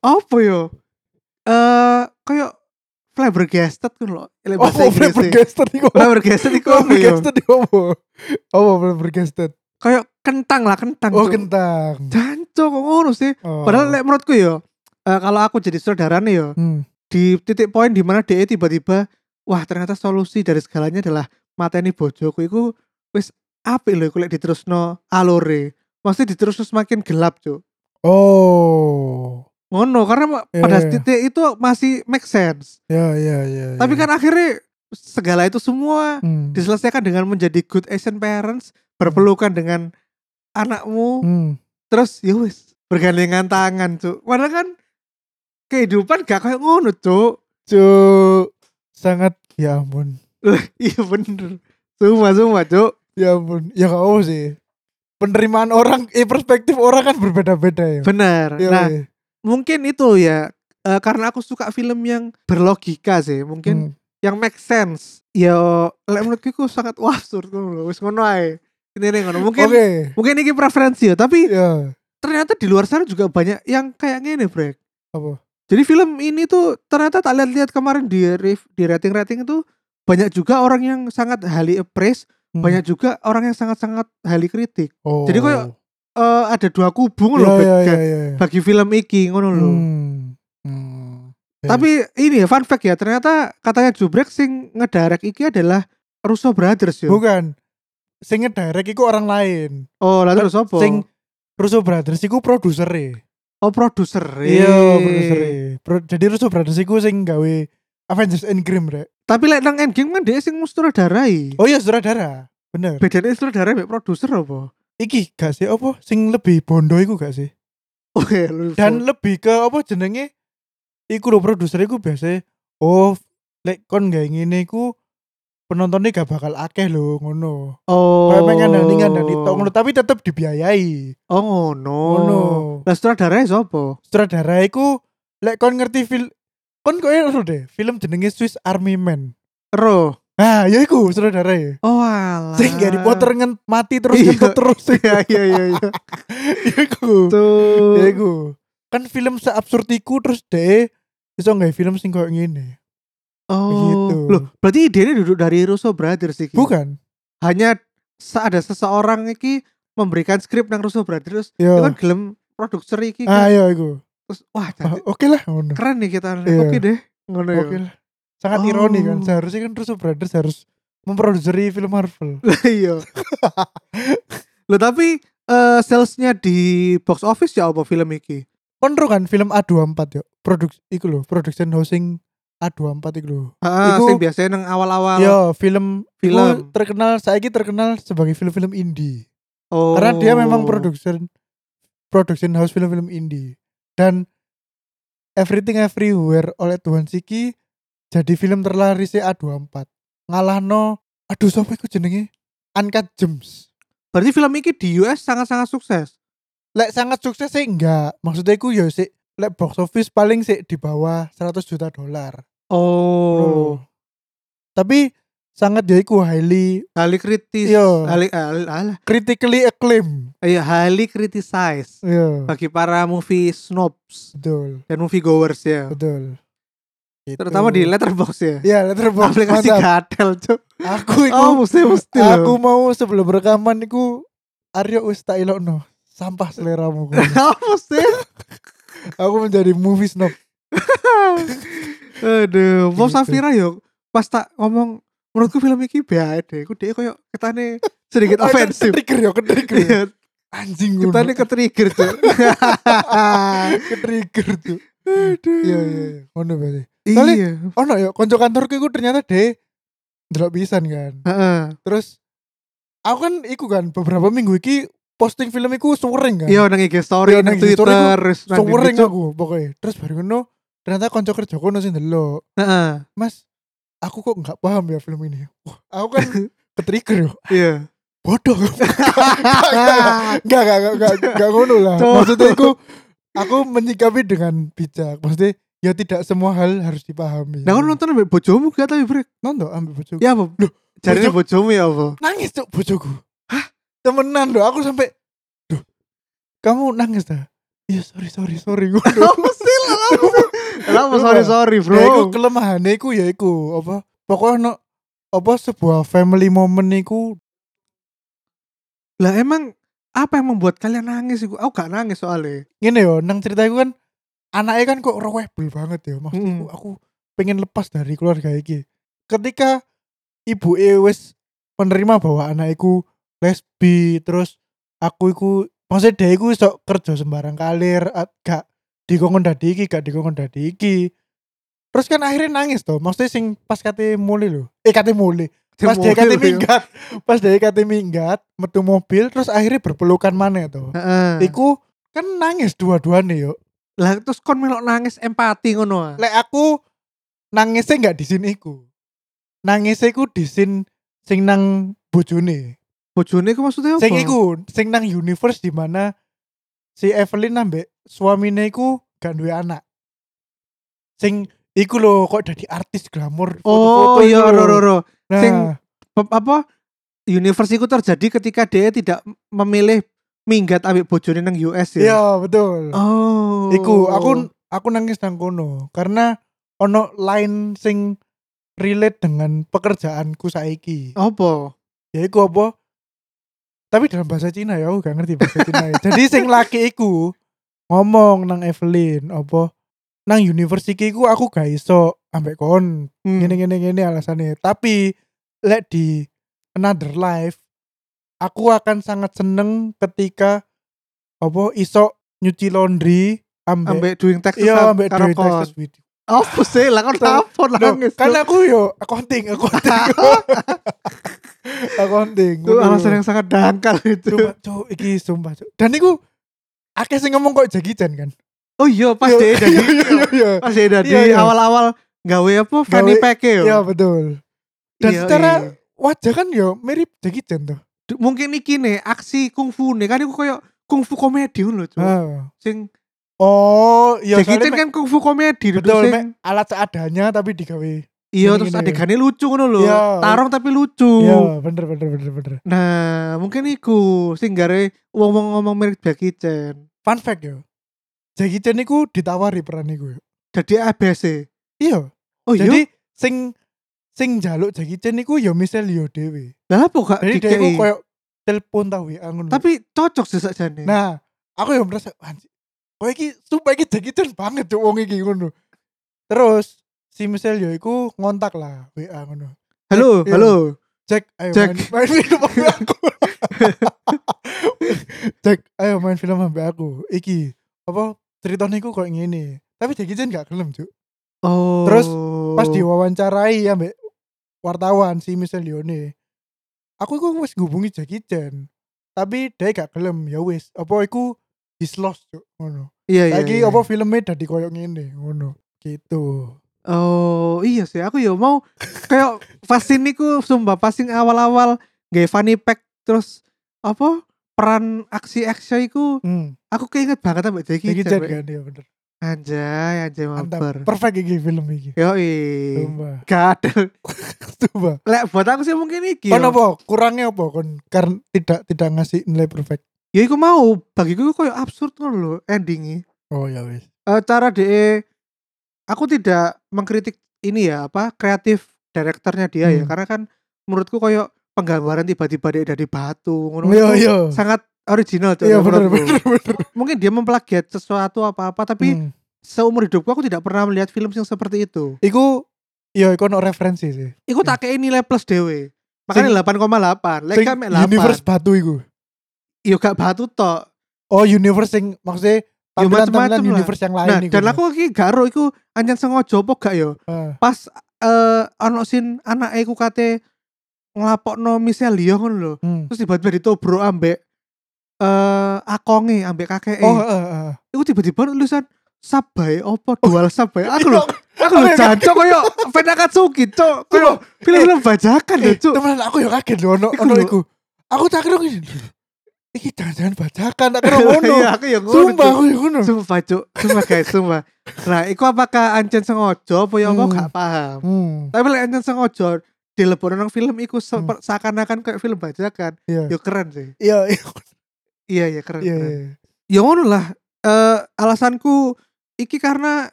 [SPEAKER 1] apa yo eh kayak flabbergasted kan loh Lek
[SPEAKER 2] Oh,
[SPEAKER 1] bahasa Inggrisnya.
[SPEAKER 2] flabbergasted iku. (laughs)
[SPEAKER 1] Flabbergasted iku apa ya?
[SPEAKER 2] Flabbergasted iku apa? Apa flabbergasted?
[SPEAKER 1] Kayak kentang lah, kentang.
[SPEAKER 2] Oh,
[SPEAKER 1] Cuk.
[SPEAKER 2] kentang.
[SPEAKER 1] Jancu, kok ngono sih.
[SPEAKER 2] Oh.
[SPEAKER 1] Padahal lek menurutku ya, eh, kalau aku jadi saudaranya ya,
[SPEAKER 2] Hmm.
[SPEAKER 1] di titik poin di mana DE tiba-tiba wah ternyata solusi dari segalanya adalah mateni bojoku iku wis apik lho iku lek diterusno alore. Mesti diterusno semakin gelap, Cuk.
[SPEAKER 2] Oh.
[SPEAKER 1] Ngono, karena ma-
[SPEAKER 2] Iya,
[SPEAKER 1] pada
[SPEAKER 2] iya.
[SPEAKER 1] titik itu masih make sense.
[SPEAKER 2] Ya, ya, ya.
[SPEAKER 1] Tapi
[SPEAKER 2] ya.
[SPEAKER 1] kan akhirnya segala itu semua
[SPEAKER 2] Hmm.
[SPEAKER 1] diselesaikan dengan menjadi good Asian parents, berpelukan dengan anakmu,
[SPEAKER 2] Hmm.
[SPEAKER 1] terus ya wis bergandengan tangan cuk padahal kan kehidupan gak kayak ngono cuk (laughs)
[SPEAKER 2] Cuk. Sangat ya ampun.
[SPEAKER 1] Lah, iya bener cuma cuma cuk
[SPEAKER 2] Ya ampun. Ya gak apa sih. Penerimaan orang, eh perspektif orang kan berbeda-beda ya.
[SPEAKER 1] bener
[SPEAKER 2] Ya,
[SPEAKER 1] nah
[SPEAKER 2] ya.
[SPEAKER 1] mungkin itu ya eh, karena aku suka film yang berlogika sih mungkin
[SPEAKER 2] Hmm.
[SPEAKER 1] yang make sense ya lek menurutku iku sangat wah absurd ngono lho wis ngono ae ini ngono
[SPEAKER 2] Oke.
[SPEAKER 1] mungkin mungkin ini preferensi ya tapi
[SPEAKER 2] Ya.
[SPEAKER 1] ternyata di luar sana juga banyak yang kayak gini brek
[SPEAKER 2] Apa?
[SPEAKER 1] Jadi film ini tuh ternyata tak lihat-lihat kemarin di rev- di rating-rating itu banyak juga orang yang sangat highly appraise,
[SPEAKER 2] Hmm.
[SPEAKER 1] banyak juga orang yang sangat-sangat highly kritik.
[SPEAKER 2] Oh.
[SPEAKER 1] Jadi kayak Eh ada dua kubu
[SPEAKER 2] ya,
[SPEAKER 1] loh
[SPEAKER 2] ya,
[SPEAKER 1] bag-
[SPEAKER 2] ya, ya, ya.
[SPEAKER 1] bagi film iki ngono loh.
[SPEAKER 2] Hmm. Hmm. Ya.
[SPEAKER 1] Tapi ini ya fun fact ya, ternyata katanya Jubrek sing ngedirect iki adalah Russo Brothers ya.
[SPEAKER 2] Bukan. Sing direct iku orang lain.
[SPEAKER 1] Oh, lalu terus apa?
[SPEAKER 2] Sing Russo Brothers iku produser e.
[SPEAKER 1] oh, produser.
[SPEAKER 2] Iya, produser Pro, Jadi Russo Brothers iku sing gawe Avengers Endgame rek.
[SPEAKER 1] Tapi lek nang Endgame kan dia sing sutradarai.
[SPEAKER 2] Oh iya sutradara. Bener.
[SPEAKER 1] Bedanya sutradara mek produser apa? (laughs)
[SPEAKER 2] Iki gak sih apa sing lebih bondo iku gak sih?
[SPEAKER 1] Oh, ya, lu-
[SPEAKER 2] Dan lebih ke apa jenenge? Iku lho produser iku biasa oh lek kon gak ngene iku penontonnya gak bakal akeh lho ngono.
[SPEAKER 1] oh.
[SPEAKER 2] Kayak pengen ngandani ngandani tok ngono tapi tetep dibiayai.
[SPEAKER 1] Oh ngono.
[SPEAKER 2] Ngono.
[SPEAKER 1] Lah sutradaranya sapa?
[SPEAKER 2] Sutradara iku lek kon ngerti film kon kok ero deh film jenenge Swiss Army Man.
[SPEAKER 1] Ro.
[SPEAKER 2] Nah, ya iku saudara ya.
[SPEAKER 1] Oh alah.
[SPEAKER 2] Sing Harry Potter
[SPEAKER 1] (laughs)
[SPEAKER 2] ngen mati terus
[SPEAKER 1] Iya.
[SPEAKER 2] kentut terus
[SPEAKER 1] (laughs) Iya iya iya iya.
[SPEAKER 2] (laughs) ya iku.
[SPEAKER 1] Tuh.
[SPEAKER 2] Ya iku. Kan film seabsurd iku terus deh iso nggak film sing koyo ngene.
[SPEAKER 1] Oh.
[SPEAKER 2] Begitu.
[SPEAKER 1] Loh, berarti idenya duduk dari Russo Brothers iki.
[SPEAKER 2] Bukan?
[SPEAKER 1] Hanya se- ada seseorang iki memberikan skrip nang Russo Brothers terus dia kan
[SPEAKER 2] Yo.
[SPEAKER 1] gelem produser iki
[SPEAKER 2] Oh. Ah,
[SPEAKER 1] kan.
[SPEAKER 2] ya iku.
[SPEAKER 1] Terus wah
[SPEAKER 2] Ah,
[SPEAKER 1] cantik.
[SPEAKER 2] Oke lah ngono.
[SPEAKER 1] keren nih kita.
[SPEAKER 2] Iya.
[SPEAKER 1] Oke deh. Kan (laughs) Ngono ya.
[SPEAKER 2] Oke lah. Sangat ironi kan.
[SPEAKER 1] Oh.
[SPEAKER 2] Seharusnya kan Russo Brothers harus memproduseri film Marvel.
[SPEAKER 1] Lah iya. Loh tapi eh, salesnya di box office ya apa film iki?
[SPEAKER 2] Kontro kan film A24 yo. Produk iku lho, production housing A24 iku lho.
[SPEAKER 1] Heeh,
[SPEAKER 2] Iku-
[SPEAKER 1] sing biasanya nang awal-awal.
[SPEAKER 2] Yo, film
[SPEAKER 1] Ah. Film.
[SPEAKER 2] film terkenal saiki terkenal sebagai film-film indie.
[SPEAKER 1] Oh.
[SPEAKER 2] Karena dia memang production production house film-film indie. Dan Everything Everywhere oleh Tuhan Siki jadi film terlaris A24. Ngalahno aduh sampai ku jenenge Uncut Gems.
[SPEAKER 1] Berarti film iki di US sangat-sangat sukses.
[SPEAKER 2] Lek sangat sukses sih enggak. Maksudnya ku yo sih lek box office paling sih di bawah 100 juta dolar.
[SPEAKER 1] Oh.
[SPEAKER 2] Tapi sangat ya iku highly
[SPEAKER 1] Highly kritis.
[SPEAKER 2] Iya.
[SPEAKER 1] Highly, al- al-
[SPEAKER 2] critically acclaimed.
[SPEAKER 1] iya, highly criticized
[SPEAKER 2] Iya,
[SPEAKER 1] bagi para movie snobs
[SPEAKER 2] betul,
[SPEAKER 1] dan movie goers ya.
[SPEAKER 2] betul. Gitu.
[SPEAKER 1] Terutama di letterbox ya.
[SPEAKER 2] Ya, letterbox.
[SPEAKER 1] Aplikasi
[SPEAKER 2] mantap.
[SPEAKER 1] gatel, Cuk.
[SPEAKER 2] Aku iku
[SPEAKER 1] Oh, mesti mesti loh. (laughs)
[SPEAKER 2] aku mau sebelum rekaman iku Aryo Usta Ilokno. Sampah seleramu.
[SPEAKER 1] (laughs) Oh, mesti.
[SPEAKER 2] aku menjadi movie snob.
[SPEAKER 1] Aduh, Bob
[SPEAKER 2] Gitu.
[SPEAKER 1] Safira yo pas tak ngomong menurutku film iki bae deh. Iku dhek koyo ketane sedikit Iya, ofensif.
[SPEAKER 2] Trigger ya, trigger.
[SPEAKER 1] Iya,
[SPEAKER 2] Anjing
[SPEAKER 1] kita
[SPEAKER 2] ngono.
[SPEAKER 1] ini ke trigger tuh
[SPEAKER 2] Ketrigger tuh.
[SPEAKER 1] aduh
[SPEAKER 2] Iya, iya, iya. Ngono berarti. Soalnya-
[SPEAKER 1] iya
[SPEAKER 2] Oh no, ya konco kantorku iku ternyata deh ndelok pisan kan.
[SPEAKER 1] Heeh.
[SPEAKER 2] Terus aku kan iku kan beberapa minggu iki posting film iku sering kan.
[SPEAKER 1] iya nang IG story
[SPEAKER 2] Iya,
[SPEAKER 1] nang
[SPEAKER 2] nang IG story
[SPEAKER 1] Twitter terus nang
[SPEAKER 2] sering
[SPEAKER 1] YouTube.
[SPEAKER 2] aku pokoknya. Terus baru ngono ternyata konco kerja kono sing ndelok.
[SPEAKER 1] Heeh.
[SPEAKER 2] Mas, aku kok nggak paham ya film ini. Wah, aku
[SPEAKER 1] (laughs)
[SPEAKER 2] kan ketrigger yo. (laughs)
[SPEAKER 1] iya (laughs) Nah,
[SPEAKER 2] Bodoh. Enggak, enggak, enggak, enggak, enggak ngono lah.
[SPEAKER 1] Cok.
[SPEAKER 2] Maksudnya aku aku menyikapi dengan bijak. Maksudnya ya tidak semua hal harus dipahami.
[SPEAKER 1] nah kan nonton ambil bojomu gak tapi brek
[SPEAKER 2] nonton ambil bojoku.
[SPEAKER 1] ya apa
[SPEAKER 2] Loh,
[SPEAKER 1] Jarine
[SPEAKER 2] bojo-
[SPEAKER 1] bojomu ya apa
[SPEAKER 2] Nangis cok bojoku. Hah? Temenan loh aku sampai Duh. Kamu nangis dah. Iya, sorry, sorry, sorry. (laughs) Ngono.
[SPEAKER 1] apa sih lah apa sih? (laughs) Lah, apa
[SPEAKER 2] Coba.
[SPEAKER 1] sorry sorry bro
[SPEAKER 2] Ya iku kelemahane iku ya iku apa pokoknya no, apa sebuah family moment iku
[SPEAKER 1] lah emang apa yang membuat kalian nangis iku aku gak nangis soalnya
[SPEAKER 2] ngene yo nang cerita iku kan anaknya kan kok rewel banget ya maksudku
[SPEAKER 1] Mm-mm.
[SPEAKER 2] aku pengen lepas dari keluarga iki ketika ibu wis menerima bahwa anakku lesbi terus aku iku maksudnya dia iku sok kerja sembarang kalir at- gak dikongkon dadi iki gak dikongkon dadi iki terus kan akhirnya nangis tuh maksudnya sing pas kate muli lho eh kate muli pas dia
[SPEAKER 1] ya.
[SPEAKER 2] kate minggat pas dia kate minggat metu mobil terus akhirnya berpelukan mana tuh
[SPEAKER 1] Heeh.
[SPEAKER 2] Iku kan nangis dua-duane yo.
[SPEAKER 1] lah terus kon melok nangis empati ngono ah.
[SPEAKER 2] Lek aku nangisnya nggak di sini iku. Nangisnya iku di sin sing nang bojone.
[SPEAKER 1] bojone iku maksudnya apa
[SPEAKER 2] Sing iku sing nang universe di mana si Evelyn nambek suamine iku gak duwe anak. Sing iku lho kok dadi artis glamor
[SPEAKER 1] oh
[SPEAKER 2] foto-foto iku
[SPEAKER 1] iya
[SPEAKER 2] lho.
[SPEAKER 1] ro ro ro
[SPEAKER 2] Nah,
[SPEAKER 1] sing- Pe- apa universe itu terjadi ketika dia tidak memilih minggat ambil bojone nang US ya.
[SPEAKER 2] iya betul.
[SPEAKER 1] Oh.
[SPEAKER 2] Iku aku aku nangis nang kono karena ono line sing relate dengan pekerjaanku saiki.
[SPEAKER 1] apa?
[SPEAKER 2] Ya iku apa? Tapi dalam bahasa Cina ya aku gak ngerti bahasa Cina. ya. Jadi sing laki iku ngomong nang Evelyn apa nang university iku aku gak iso ambek kon
[SPEAKER 1] Hmm.
[SPEAKER 2] gini gini gini alasannya tapi lek di another life aku akan sangat seneng ketika apa iso nyuci laundry ambek
[SPEAKER 1] ambek doing Texas
[SPEAKER 2] iya
[SPEAKER 1] up
[SPEAKER 2] ambek
[SPEAKER 1] karo
[SPEAKER 2] duit
[SPEAKER 1] kon.
[SPEAKER 2] Texas with
[SPEAKER 1] (laughs)
[SPEAKER 2] you.
[SPEAKER 1] Apa sih lah kon
[SPEAKER 2] Tuh.
[SPEAKER 1] telepon
[SPEAKER 2] Loh,
[SPEAKER 1] nangis.
[SPEAKER 2] kan
[SPEAKER 1] tuh.
[SPEAKER 2] aku yo accounting accounting
[SPEAKER 1] (laughs)
[SPEAKER 2] accounting
[SPEAKER 1] itu alasan yang sangat dangkal itu. (laughs)
[SPEAKER 2] cuma cuk iki sumpah cuk dan iku akeh sing ngomong kok Jackie Chan kan
[SPEAKER 1] Oh iya pas
[SPEAKER 2] Yo,
[SPEAKER 1] dia jadi
[SPEAKER 2] (laughs) yo, yo, yo,
[SPEAKER 1] pas dia
[SPEAKER 2] Iya,
[SPEAKER 1] jadi
[SPEAKER 2] iya.
[SPEAKER 1] awal-awal gawe apa Fanny
[SPEAKER 2] Gawe-
[SPEAKER 1] Pack
[SPEAKER 2] yo.
[SPEAKER 1] ya.
[SPEAKER 2] Iya, betul dan
[SPEAKER 1] Iya,
[SPEAKER 2] secara
[SPEAKER 1] iya.
[SPEAKER 2] wajah kan yo mirip Jackie Chan tuh
[SPEAKER 1] D- mungkin iki nih aksi kungfu nih kan iku koyo kungfu komedi ngono lho.
[SPEAKER 2] Ah.
[SPEAKER 1] Sing
[SPEAKER 2] oh iya
[SPEAKER 1] Jackie
[SPEAKER 2] soalnya
[SPEAKER 1] Chan kan kungfu komedi duduk
[SPEAKER 2] Betul,
[SPEAKER 1] sing-
[SPEAKER 2] Mek. alat seadanya tapi digawe
[SPEAKER 1] Iya
[SPEAKER 2] Gini,
[SPEAKER 1] terus
[SPEAKER 2] gini.
[SPEAKER 1] adegannya lucu ngono lho.
[SPEAKER 2] Iya.
[SPEAKER 1] Tarung tapi lucu.
[SPEAKER 2] Iya, bener bener bener bener.
[SPEAKER 1] Nah, mungkin iku sing gare wong-wong ngomong mirip Jackie Chan.
[SPEAKER 2] Fun fact yo. Jackie Chan niku ditawari peran niku. yo.
[SPEAKER 1] Jadi ABC.
[SPEAKER 2] Iya.
[SPEAKER 1] Oh iya.
[SPEAKER 2] Jadi sing sing jaluk Jackie Chan niku ya yo Michelle yo dhewe.
[SPEAKER 1] Lah apa gak
[SPEAKER 2] Jadi dia iku
[SPEAKER 1] dikei?
[SPEAKER 2] koyo telepon ta WA ngono. lho.
[SPEAKER 1] Tapi cocok sih sakjane.
[SPEAKER 2] Nah, aku yang merasa anjir. Kowe iki sumpah iki Jackie Chan banget cuk wong iki ngono. Terus si Michelle yo iku ngontak lah WA ngono.
[SPEAKER 1] halo,
[SPEAKER 2] iya.
[SPEAKER 1] halo.
[SPEAKER 2] Jack, ayo
[SPEAKER 1] Jack.
[SPEAKER 2] main, main film sama aku. (laughs) Jack, ayo main film sama aku. Iki apa ceritanya iku kayak gini. Tapi Jackie Chan gak gelem, Cuk.
[SPEAKER 1] Oh.
[SPEAKER 2] Terus, Pas diwawancarai ya mbak wartawan si Michelle Lione. Aku iku wis ngubungi Jackie Chan. Tapi dia gak gelem ya wis. Apa iku his loss, Cuk. Ngono.
[SPEAKER 1] iya, iya,
[SPEAKER 2] Lagi
[SPEAKER 1] iya.
[SPEAKER 2] apa filmnya dadi koyo ngene, ngono. Gitu.
[SPEAKER 1] Oh, iya sih aku ya mau kayak pasin niku sumpah pasin awal-awal gay funny pack terus apa peran aksi aksi iku
[SPEAKER 2] Hmm.
[SPEAKER 1] aku keinget banget sama Jackie,
[SPEAKER 2] Jackie
[SPEAKER 1] Chan.
[SPEAKER 2] Chan
[SPEAKER 1] Mbak.
[SPEAKER 2] kan ya bener.
[SPEAKER 1] Anjay, anjay
[SPEAKER 2] Mantap.
[SPEAKER 1] mabar.
[SPEAKER 2] Perfect iki film iki.
[SPEAKER 1] Yoi.
[SPEAKER 2] (laughs) Coba.
[SPEAKER 1] Gak ada.
[SPEAKER 2] Coba.
[SPEAKER 1] Lek buat aku sih mungkin iki.
[SPEAKER 2] Kon
[SPEAKER 1] yo.
[SPEAKER 2] apa? Kurangnya apa kon? Karena tidak tidak ngasih nilai perfect.
[SPEAKER 1] Ya iku mau bagiku iku koyo absurd ngono lho endinge.
[SPEAKER 2] Oh ya wis.
[SPEAKER 1] Eh cara de aku tidak mengkritik ini ya apa kreatif direkturnya dia ya
[SPEAKER 2] Hmm.
[SPEAKER 1] karena kan menurutku koyo penggambaran tiba-tiba dia dari batu ngono.
[SPEAKER 2] Iya
[SPEAKER 1] Itu
[SPEAKER 2] iya.
[SPEAKER 1] Sangat original tuh
[SPEAKER 2] Iya benar
[SPEAKER 1] menurutku.
[SPEAKER 2] benar benar.
[SPEAKER 1] Mungkin dia memplagiat sesuatu apa-apa tapi
[SPEAKER 2] Hmm.
[SPEAKER 1] seumur hidupku aku tidak pernah melihat film yang seperti itu.
[SPEAKER 2] Iku iya iku no referensi sih.
[SPEAKER 1] Iku
[SPEAKER 2] Ya.
[SPEAKER 1] tak kei nilai plus dewe. Makanya 8,8. Lek
[SPEAKER 2] Sing
[SPEAKER 1] gak mek 8.
[SPEAKER 2] universe batu iku.
[SPEAKER 1] Yo gak batu tok.
[SPEAKER 2] Oh universe sing maksudnya
[SPEAKER 1] Ya,
[SPEAKER 2] tampilan-tampilan
[SPEAKER 1] macem-macem lah.
[SPEAKER 2] universe yang lain
[SPEAKER 1] Nah,
[SPEAKER 2] iku. ya.
[SPEAKER 1] dan aku iki garo iku anjen sengaja apa gak yo?
[SPEAKER 2] Ah.
[SPEAKER 1] Pas eh ono sin anake ku kate nglapokno Michelle Yeoh ngono lho.
[SPEAKER 2] Hmm.
[SPEAKER 1] Terus tiba-tiba ditobro ambek eh akonge ambek kakeke.
[SPEAKER 2] Oh heeh heeh.
[SPEAKER 1] Iku tiba-tiba tulisan sabai opo dual sabai. Aku lho, aku lho
[SPEAKER 2] Aku
[SPEAKER 1] jancok koyo fan Akatsuki, cok. Koyo film-film (laughs) bajakan lho,
[SPEAKER 2] Eh,
[SPEAKER 1] cuk.
[SPEAKER 2] temenan aku yo kaget lho ono
[SPEAKER 1] Iku
[SPEAKER 2] ono
[SPEAKER 1] lho.
[SPEAKER 2] iku. Aku tak kira ngene. lho, Iki jangan-jangan bacakan tak kira ngono.
[SPEAKER 1] (laughs) Iya, aku ya ngono.
[SPEAKER 2] Sumpah
[SPEAKER 1] Cuk.
[SPEAKER 2] aku yo ngono.
[SPEAKER 1] Sumpah, cuk. Sumpah guys, sumpah. Nah, iku apakah ancen sengaja apa ya apa
[SPEAKER 2] Hmm.
[SPEAKER 1] gak paham.
[SPEAKER 2] Hmm.
[SPEAKER 1] tapi lek enten sengaja dilebokno nang film iku sepe- seakan-akan kayak film bajakan
[SPEAKER 2] Iya.
[SPEAKER 1] yo keren sih
[SPEAKER 2] Iya iya.
[SPEAKER 1] iya iya keren,
[SPEAKER 2] Iya.
[SPEAKER 1] keren. ya ngono lah Eh, alasanku iki karena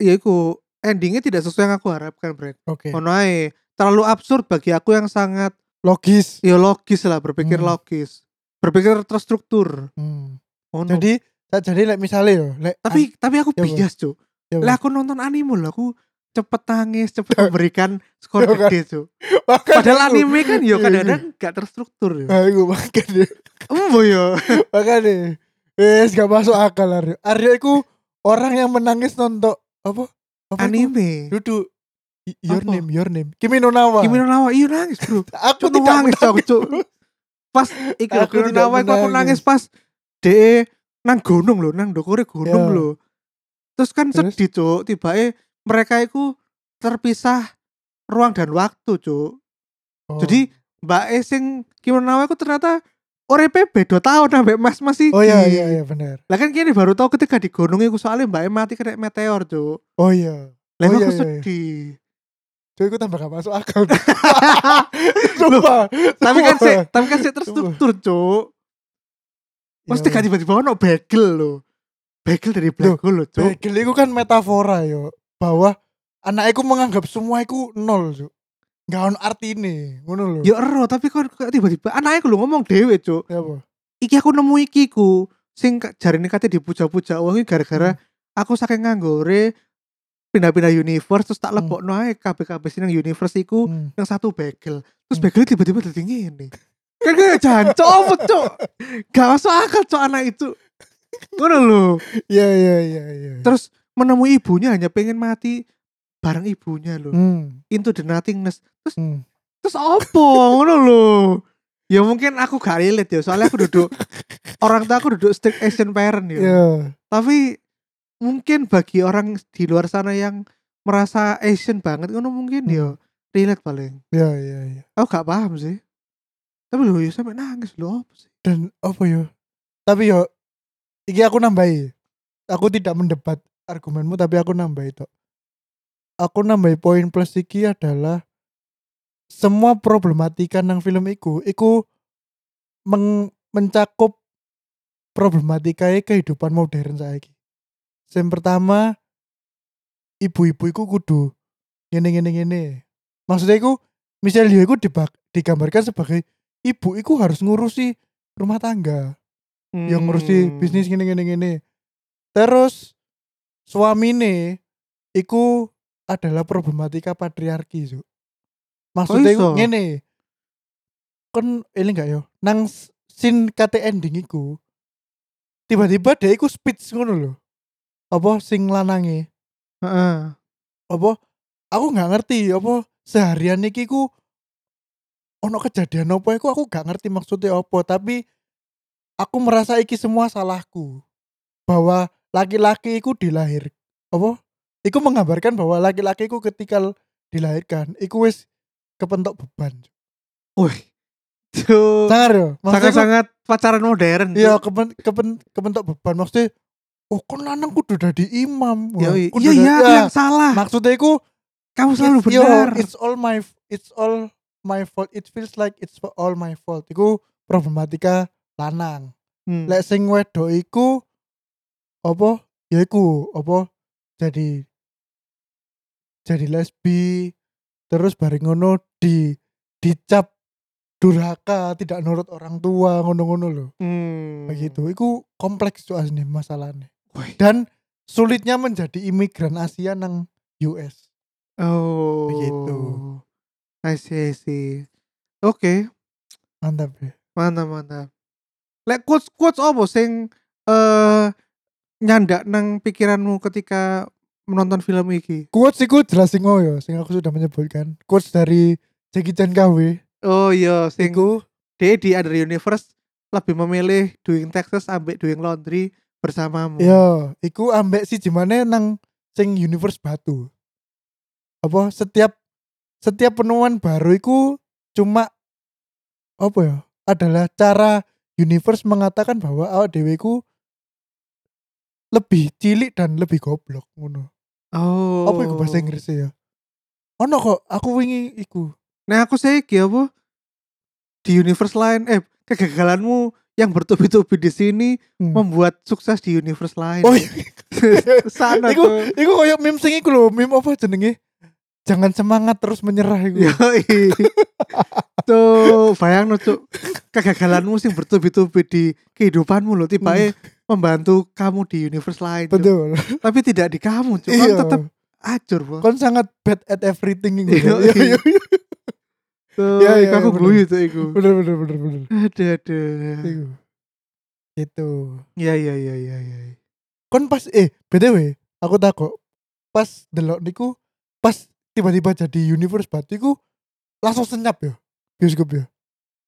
[SPEAKER 1] ya iku endingnya tidak sesuai yang aku harapkan Brek
[SPEAKER 2] Oke.
[SPEAKER 1] ngono ae terlalu absurd bagi aku yang sangat
[SPEAKER 2] Logis.
[SPEAKER 1] ya logis lah berpikir
[SPEAKER 2] Hmm.
[SPEAKER 1] logis berpikir terstruktur
[SPEAKER 2] Hmm.
[SPEAKER 1] ngono
[SPEAKER 2] Jadi tak jadi like misalnya yo, like
[SPEAKER 1] tapi tapi aku
[SPEAKER 2] Ya, Bang.
[SPEAKER 1] bias cuy
[SPEAKER 2] Ya,
[SPEAKER 1] lah aku nonton anime lho aku cepet nangis
[SPEAKER 2] (laughs)
[SPEAKER 1] cepet memberikan skor
[SPEAKER 2] Ya, kan.
[SPEAKER 1] gede cuy
[SPEAKER 2] (laughs) Makan (laughs)
[SPEAKER 1] padahal
[SPEAKER 2] aku.
[SPEAKER 1] anime kan yo
[SPEAKER 2] Iya,
[SPEAKER 1] kadang-kadang gak terstruktur yo
[SPEAKER 2] (laughs) Nah, iku makan ya.
[SPEAKER 1] embo yo
[SPEAKER 2] Makan ya. Wes gak masuk akal Aryo. Aryo iku orang yang menangis nonton apa? apa iku?
[SPEAKER 1] anime.
[SPEAKER 2] Duduk. Y- Your
[SPEAKER 1] Apa?
[SPEAKER 2] name, your name. Kimi no Nawa.
[SPEAKER 1] Kimi no Nawa, iya nangis
[SPEAKER 2] (laughs)
[SPEAKER 1] bro. Cuk
[SPEAKER 2] Aku tidak
[SPEAKER 1] nangis
[SPEAKER 2] menangis.
[SPEAKER 1] aku cuk. Pas iki
[SPEAKER 2] Aku
[SPEAKER 1] Kimi no
[SPEAKER 2] tidak
[SPEAKER 1] Nawa iku aku
[SPEAKER 2] menangis.
[SPEAKER 1] nangis pas de nang gunung lho, nang dokore gunung
[SPEAKER 2] Ya.
[SPEAKER 1] lho. Terus kan
[SPEAKER 2] Terus?
[SPEAKER 1] sedih cuk, tibake mereka iku terpisah ruang dan waktu cuk.
[SPEAKER 2] Oh.
[SPEAKER 1] Jadi Mbak E sing Kimi no Nawa iku ternyata Orepe beda tahun ambek mas mas iki.
[SPEAKER 2] Oh iya iya iya benar.
[SPEAKER 1] Lah kan kini baru tahu ketika di gunung iku soalnya Mbak E mati kena meteor cuk.
[SPEAKER 2] Oh iya.
[SPEAKER 1] Lah iku
[SPEAKER 2] Oh, iya,
[SPEAKER 1] aku
[SPEAKER 2] iya, iya.
[SPEAKER 1] sedih.
[SPEAKER 2] (laughs) Jadi aku tambah gak masuk akal. (laughs) Sumpah.
[SPEAKER 1] tapi kan sih,
[SPEAKER 2] Sumpah.
[SPEAKER 1] tapi kan sih terstruktur cuk. Mesti
[SPEAKER 2] Iya,
[SPEAKER 1] gak tiba-tiba ono bagel lho. Bagel dari black hole lho, Cuk.
[SPEAKER 2] Bagel itu kan metafora yo bahwa anakku menganggap semua itu nol yo. Gak ono artine, ngono lho.
[SPEAKER 1] Ya ero, tapi kok kok tiba-tiba anaknya aku lho ngomong dhewe, Cuk.
[SPEAKER 2] Ya apa?
[SPEAKER 1] Iki aku nemu iki ku sing ka- jarine kate dipuja-puja wong iki gara-gara
[SPEAKER 2] Hmm.
[SPEAKER 1] aku saking nganggore pindah-pindah universe terus tak
[SPEAKER 2] Hmm.
[SPEAKER 1] lebokno ae kabeh-kabeh sing nang universe iku
[SPEAKER 2] Hmm.
[SPEAKER 1] yang satu bagel. Terus
[SPEAKER 2] Hmm.
[SPEAKER 1] bagel tiba-tiba dadi ngene. Kan kayak jancok apa,
[SPEAKER 2] (laughs)
[SPEAKER 1] Cuk? Gak masuk akal, Cuk, anak itu. Ngono lho.
[SPEAKER 2] Iya iya iya iya.
[SPEAKER 1] Terus menemui ibunya hanya pengen mati bareng ibunya lho.
[SPEAKER 2] Hmm.
[SPEAKER 1] Into the nothingness. Terus
[SPEAKER 2] Hmm.
[SPEAKER 1] terus opo ngono lho ya mungkin aku gak relate ya soalnya aku
[SPEAKER 2] (laughs)
[SPEAKER 1] duduk orang tua aku duduk strict Asian parent ya
[SPEAKER 2] Iya.
[SPEAKER 1] tapi mungkin bagi orang di luar sana yang merasa Asian banget ngono mungkin
[SPEAKER 2] Hmm.
[SPEAKER 1] ya relate paling
[SPEAKER 2] Iya iya iya.
[SPEAKER 1] aku gak paham sih tapi lho ya sampe nangis lho apa sih
[SPEAKER 2] Dan apa yo? Tapi yo iki aku nambahi. Aku tidak mendebat argumenmu tapi aku nambahi tok. aku nambah poin plus iki adalah semua problematika nang film iku iku meng- mencakup problematika e kehidupan modern saiki. Yang pertama ibu-ibu iku kudu ngene ngene ngene. Maksudnya iku misalnya dia iku dibak- digambarkan sebagai ibu iku harus ngurusi rumah tangga yang
[SPEAKER 1] Hmm.
[SPEAKER 2] ngurusi bisnis gini gini gini terus suamine iku adalah problematika patriarki Cuk. maksudnya iku
[SPEAKER 1] iso?
[SPEAKER 2] ngene kon ini enggak yo nang s- scene kate ending iku tiba-tiba dia iku speech ngono lho apa sing lanange
[SPEAKER 1] Heeh.
[SPEAKER 2] apa aku nggak ngerti apa seharian iki ku ono kejadian apa iku aku gak ngerti maksudnya apa tapi aku merasa iki semua salahku bahwa laki-laki iku dilahir apa iku menggambarkan bahwa laki-laki iku ketika l- dilahirkan iku wis kepentok beban
[SPEAKER 1] Wih. Cuk.
[SPEAKER 2] sangar yo maksudnya iku-
[SPEAKER 1] Sangat-sangat pacaran modern.
[SPEAKER 2] iya kepen, kepen- kepentok beban maksudnya oh kon lanang kudu dadi imam
[SPEAKER 1] Iya,
[SPEAKER 2] Wah, kudu
[SPEAKER 1] iya, iya,
[SPEAKER 2] dadi-
[SPEAKER 1] aku Iya,
[SPEAKER 2] ya,
[SPEAKER 1] yang salah.
[SPEAKER 2] maksudnya iku
[SPEAKER 1] Kamu selalu
[SPEAKER 2] It's- yo,
[SPEAKER 1] benar.
[SPEAKER 2] it's all my it's all my fault. It feels like it's all my fault. Iku problematika lanang.
[SPEAKER 1] Hmm.
[SPEAKER 2] Lek sing wedok iku apa? Ya iku apa? Jadi jadi lesbi terus bareng ngono di dicap durhaka tidak nurut orang tua ngono-ngono loh
[SPEAKER 1] Hmm.
[SPEAKER 2] begitu iku kompleks tuh asli masalahnya
[SPEAKER 1] Wih.
[SPEAKER 2] dan sulitnya menjadi imigran Asia nang US
[SPEAKER 1] Oh.
[SPEAKER 2] Begitu.
[SPEAKER 1] I see, I see. Oke,
[SPEAKER 2] mantap ya
[SPEAKER 1] mantap, mantap. Lek quotes quotes apa sing eh nyandak nang pikiranmu ketika menonton film iki?
[SPEAKER 2] quotes iku jelas sing oh ya, sing aku sudah menyebutkan quotes dari Jackie Chan KW
[SPEAKER 1] Oh iya, sing
[SPEAKER 2] iku
[SPEAKER 1] dia di Other Universe lebih memilih doing Texas ambek doing laundry bersamamu.
[SPEAKER 2] ya iku ambek si gimana nang sing universe batu apa setiap setiap penemuan baru iku cuma apa ya adalah cara universe mengatakan bahwa awak dhewe iku lebih cilik dan lebih goblok ngono.
[SPEAKER 1] Oh.
[SPEAKER 2] Apa iku bahasa Inggrisnya ya? Ono kok aku wingi iku.
[SPEAKER 1] Nah aku saya iki apa di universe lain eh kegagalanmu yang bertubi-tubi di sini
[SPEAKER 2] Hmm.
[SPEAKER 1] membuat sukses di universe lain.
[SPEAKER 2] Oh, iya.
[SPEAKER 1] (laughs) sana
[SPEAKER 2] Iku-
[SPEAKER 1] tuh.
[SPEAKER 2] Iku koyo meme sing iku lho, meme apa jenenge? Jangan semangat terus menyerah
[SPEAKER 1] Iya.
[SPEAKER 2] iku. (laughs)
[SPEAKER 1] Yoi. tuh bayang cuk kegagalanmu sih bertubi-tubi di kehidupanmu loh tiba membantu kamu di universe lain Cuk.
[SPEAKER 2] Hmm. Betul.
[SPEAKER 1] tapi tidak di kamu cuk Kamu
[SPEAKER 2] Iya.
[SPEAKER 1] tetap acur bro (laughs)
[SPEAKER 2] Kon sangat bad at everything iku.
[SPEAKER 1] Iya,
[SPEAKER 2] Iya iya. iya.
[SPEAKER 1] tuh
[SPEAKER 2] iya,
[SPEAKER 1] iku
[SPEAKER 2] iya,
[SPEAKER 1] aku
[SPEAKER 2] bener. Iya.
[SPEAKER 1] guyu tuh iku
[SPEAKER 2] (laughs) Bener bener bener bener.
[SPEAKER 1] aduh aduh
[SPEAKER 2] Iku. Itu.
[SPEAKER 1] ya ya ya ya ya
[SPEAKER 2] Kon pas eh BTW, aku takok pas delok niku pas tiba-tiba jadi universe batu iku langsung senyap ya bioskop ya.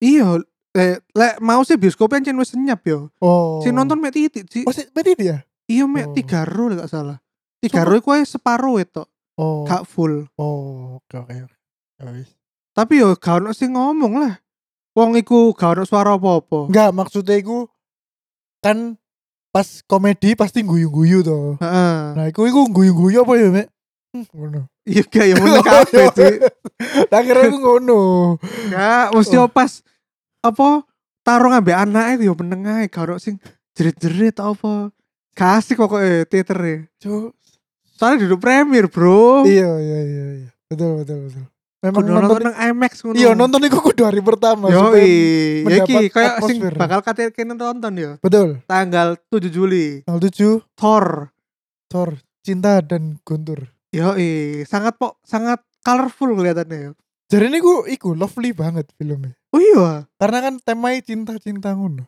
[SPEAKER 1] iya eh, lek mau sih bioskopnya ancen wis senyap yo
[SPEAKER 2] Oh.
[SPEAKER 1] si nonton mek titik sih
[SPEAKER 2] Oh, si, berarti itu ya?
[SPEAKER 1] iya mek
[SPEAKER 2] Oh.
[SPEAKER 1] tiga ro lek gak salah tiga ro iku ae separuh itu
[SPEAKER 2] Oh.
[SPEAKER 1] gak full
[SPEAKER 2] Oh, oke oke. Ya wis.
[SPEAKER 1] tapi yo gak ono sing ngomong lah wong iku gak ono suara apa-apa
[SPEAKER 2] Enggak, maksudnya iku kan pas komedi pasti guyu-guyu to.
[SPEAKER 1] heeh
[SPEAKER 2] Nah, iku iku guyu-guyu apa ya, Mek? Hmm, ngono.
[SPEAKER 1] iya gak ya (laughs)
[SPEAKER 2] (laughs) Oh,
[SPEAKER 1] ngono kabeh
[SPEAKER 2] iya.
[SPEAKER 1] sih
[SPEAKER 2] Tak kira iku ngono.
[SPEAKER 1] gak mesti
[SPEAKER 2] Oh.
[SPEAKER 1] yo pas apa tarung ambek anake yo meneng ae gak ono sing jerit-jerit apa kasih kok eh teater
[SPEAKER 2] Cuk.
[SPEAKER 1] soalnya duduk premier bro
[SPEAKER 2] Iya, iya, iya, iya. Betul, betul, betul. Memang
[SPEAKER 1] Kudu
[SPEAKER 2] nonton
[SPEAKER 1] nonton nang IMAX ngono.
[SPEAKER 2] Iya, nonton iku kudu hari pertama
[SPEAKER 1] Yo,
[SPEAKER 2] supaya-
[SPEAKER 1] ya iki
[SPEAKER 2] mendapat
[SPEAKER 1] kayak sing
[SPEAKER 2] atmosfer.
[SPEAKER 1] bakal kate kene nonton ya.
[SPEAKER 2] Betul.
[SPEAKER 1] Tanggal 7 Juli
[SPEAKER 2] 07
[SPEAKER 1] Thor.
[SPEAKER 2] Thor Cinta dan Guntur.
[SPEAKER 1] Yo, sangat po, sangat colorful kelihatannya. ya.
[SPEAKER 2] Jadi ini ku, iku lovely banget filmnya.
[SPEAKER 1] Oh iya.
[SPEAKER 2] Karena kan temanya cinta-cinta ngono.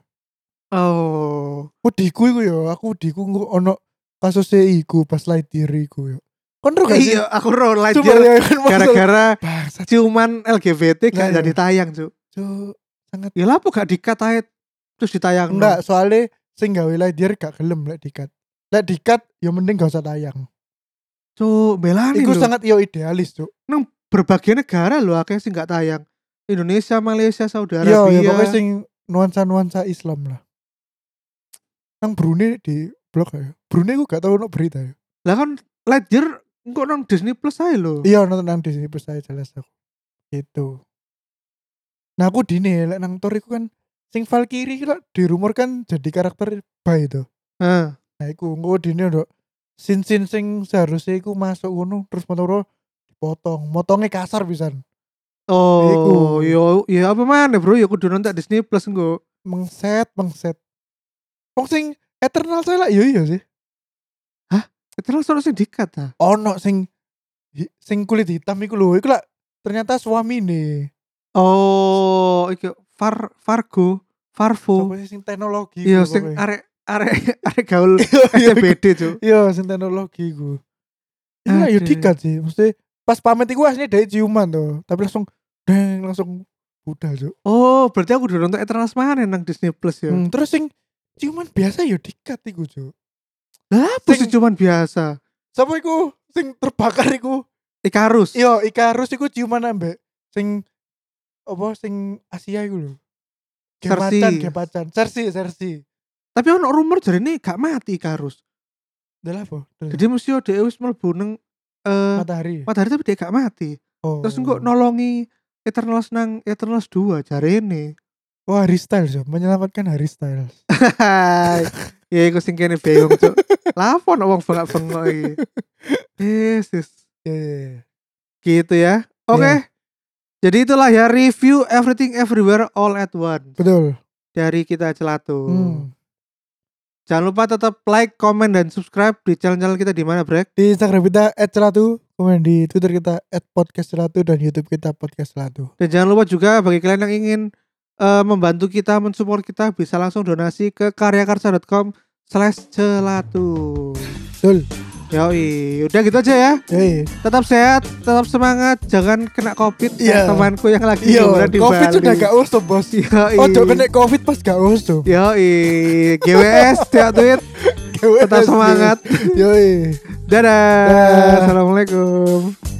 [SPEAKER 1] Oh.
[SPEAKER 2] Wediku iku ya, aku wediku engko ono kasus e iku pas Lightyear iku ya. Kon ro gak sih?
[SPEAKER 1] Iya, aku roll
[SPEAKER 2] Coba
[SPEAKER 1] Lightyear
[SPEAKER 2] ya kan gara-gara
[SPEAKER 1] gara-gara
[SPEAKER 2] bangsat
[SPEAKER 1] ciuman LGBT gak
[SPEAKER 2] Nah,
[SPEAKER 1] jadi
[SPEAKER 2] iya.
[SPEAKER 1] tayang, Cuk.
[SPEAKER 2] Cuk. sangat
[SPEAKER 1] Ya lapo gak dikat ae terus ditayang.
[SPEAKER 2] enggak soalnya sing gawe Lightyear gak gelem lek dikat. Lek dikat ya mending gak usah tayang.
[SPEAKER 1] Cuk, belani
[SPEAKER 2] Iku
[SPEAKER 1] Kan lho.
[SPEAKER 2] sangat yo idealis, Cuk.
[SPEAKER 1] berbagai negara loh akhirnya sih gak tayang. Indonesia, Malaysia, Saudi
[SPEAKER 2] Iya,
[SPEAKER 1] Arabia.
[SPEAKER 2] ya pokoknya sing nuansa-nuansa Islam lah. Nang Brunei di blog ya. Brunei gue gak tau ono berita ya.
[SPEAKER 1] Lah kan Ledger Engko nang Disney Plus ae lho.
[SPEAKER 2] Iya nonton nang Disney Plus saya jelas aku. Gitu. Nah aku dini lek nang Thor iku kan sing Valkyrie ki lho dirumorkan jadi karakter bae itu.
[SPEAKER 1] Heeh.
[SPEAKER 2] Nah iku engko dini nduk sin-sin sing seharusnya iku masuk ngono terus motoro dipotong. Motongnya kasar pisan.
[SPEAKER 1] Oh,
[SPEAKER 2] Iku.
[SPEAKER 1] yo ya apa mana bro? Ya kudu nonton Disney Plus engko.
[SPEAKER 2] Mengset, mengset. Wong sing Eternal saya lah iya iya sih.
[SPEAKER 1] Ya Terus terus sing dikat ah. ta.
[SPEAKER 2] Ono sing hi- sing kulit hitam iku lho iku lah ternyata suami nih.
[SPEAKER 1] Oh, iki Far Fargo, Farvo.
[SPEAKER 2] Apa sih sing teknologi?
[SPEAKER 1] Oh. Iya
[SPEAKER 2] iku
[SPEAKER 1] sing
[SPEAKER 2] pokoknya.
[SPEAKER 1] arek arek (laughs) arek gaul
[SPEAKER 2] Iya, iku.
[SPEAKER 1] STBD cuk.
[SPEAKER 2] Iya, sing teknologi ku. Iya, ya
[SPEAKER 1] Aduh.
[SPEAKER 2] dikat sih. Mesti pas pamit iku aslinya dari ciuman tuh, tapi langsung deng langsung budal tuh.
[SPEAKER 1] Oh, berarti aku udah nonton Eternals mana nang Disney Plus ya?
[SPEAKER 2] Hmm, terus sing ciuman biasa ya dikat iku, Cuk.
[SPEAKER 1] Lah, apa sih
[SPEAKER 2] Sing-
[SPEAKER 1] cuman biasa?
[SPEAKER 2] Sapa iku sing terbakar iku?
[SPEAKER 1] Ikarus.
[SPEAKER 2] Iya, Ikarus iku ciuman ambek sing apa sing Asia iku lho.
[SPEAKER 1] Cersei.
[SPEAKER 2] Kepacan, kepacan. Cersei, Cersei.
[SPEAKER 1] Tapi ono rumor jarene gak mati Ikarus.
[SPEAKER 2] Dalah apa? Dalah.
[SPEAKER 1] Jadi mesti ada wis mlebu nang eh
[SPEAKER 2] Matahari.
[SPEAKER 1] matahari tapi dia gak mati.
[SPEAKER 2] Oh.
[SPEAKER 1] Terus engko nolongi Eternals nang Eternals 2 jarene.
[SPEAKER 2] Oh, Harry Styles, Cuk. menyelamatkan Harry Styles.
[SPEAKER 1] Hai. ya iku sing kene bingung cuk. Lapor wong bengak-bengok iki. Yes, yes.
[SPEAKER 2] (laughs) Iya, iya, iya.
[SPEAKER 1] Gitu ya. Oke.
[SPEAKER 2] Iya.
[SPEAKER 1] Jadi itulah ya review Everything Everywhere All at Once
[SPEAKER 2] Betul.
[SPEAKER 1] dari kita Celatu.
[SPEAKER 2] Hmm.
[SPEAKER 1] Jangan lupa tetap like, comment dan subscribe di channel-channel kita di mana, Brek?
[SPEAKER 2] di Instagram kita @celatu, kemudian di Twitter kita @podcastcelatu dan YouTube kita podcastcelatu.
[SPEAKER 1] Dan jangan lupa juga bagi kalian yang ingin eh, membantu kita, mensupport kita bisa langsung donasi ke karyakarsa.com slash celatu.
[SPEAKER 2] Betul.
[SPEAKER 1] Yoi, udah gitu aja ya.
[SPEAKER 2] Yoi.
[SPEAKER 1] Tetap sehat, tetap semangat, jangan kena covid eh,
[SPEAKER 2] Iya.
[SPEAKER 1] temanku yang lagi
[SPEAKER 2] Iya,
[SPEAKER 1] liburan di
[SPEAKER 2] Covid
[SPEAKER 1] Bali.
[SPEAKER 2] sudah gak usum, Bos.
[SPEAKER 1] Yoi.
[SPEAKER 2] Ojo kena Covid pas gak usum.
[SPEAKER 1] Yoi, GWS, tiap tweet,
[SPEAKER 2] (laughs) Iya.
[SPEAKER 1] tetap semangat.
[SPEAKER 2] Yoi.
[SPEAKER 1] Dadah,
[SPEAKER 2] Dah.
[SPEAKER 1] Assalamualaikum.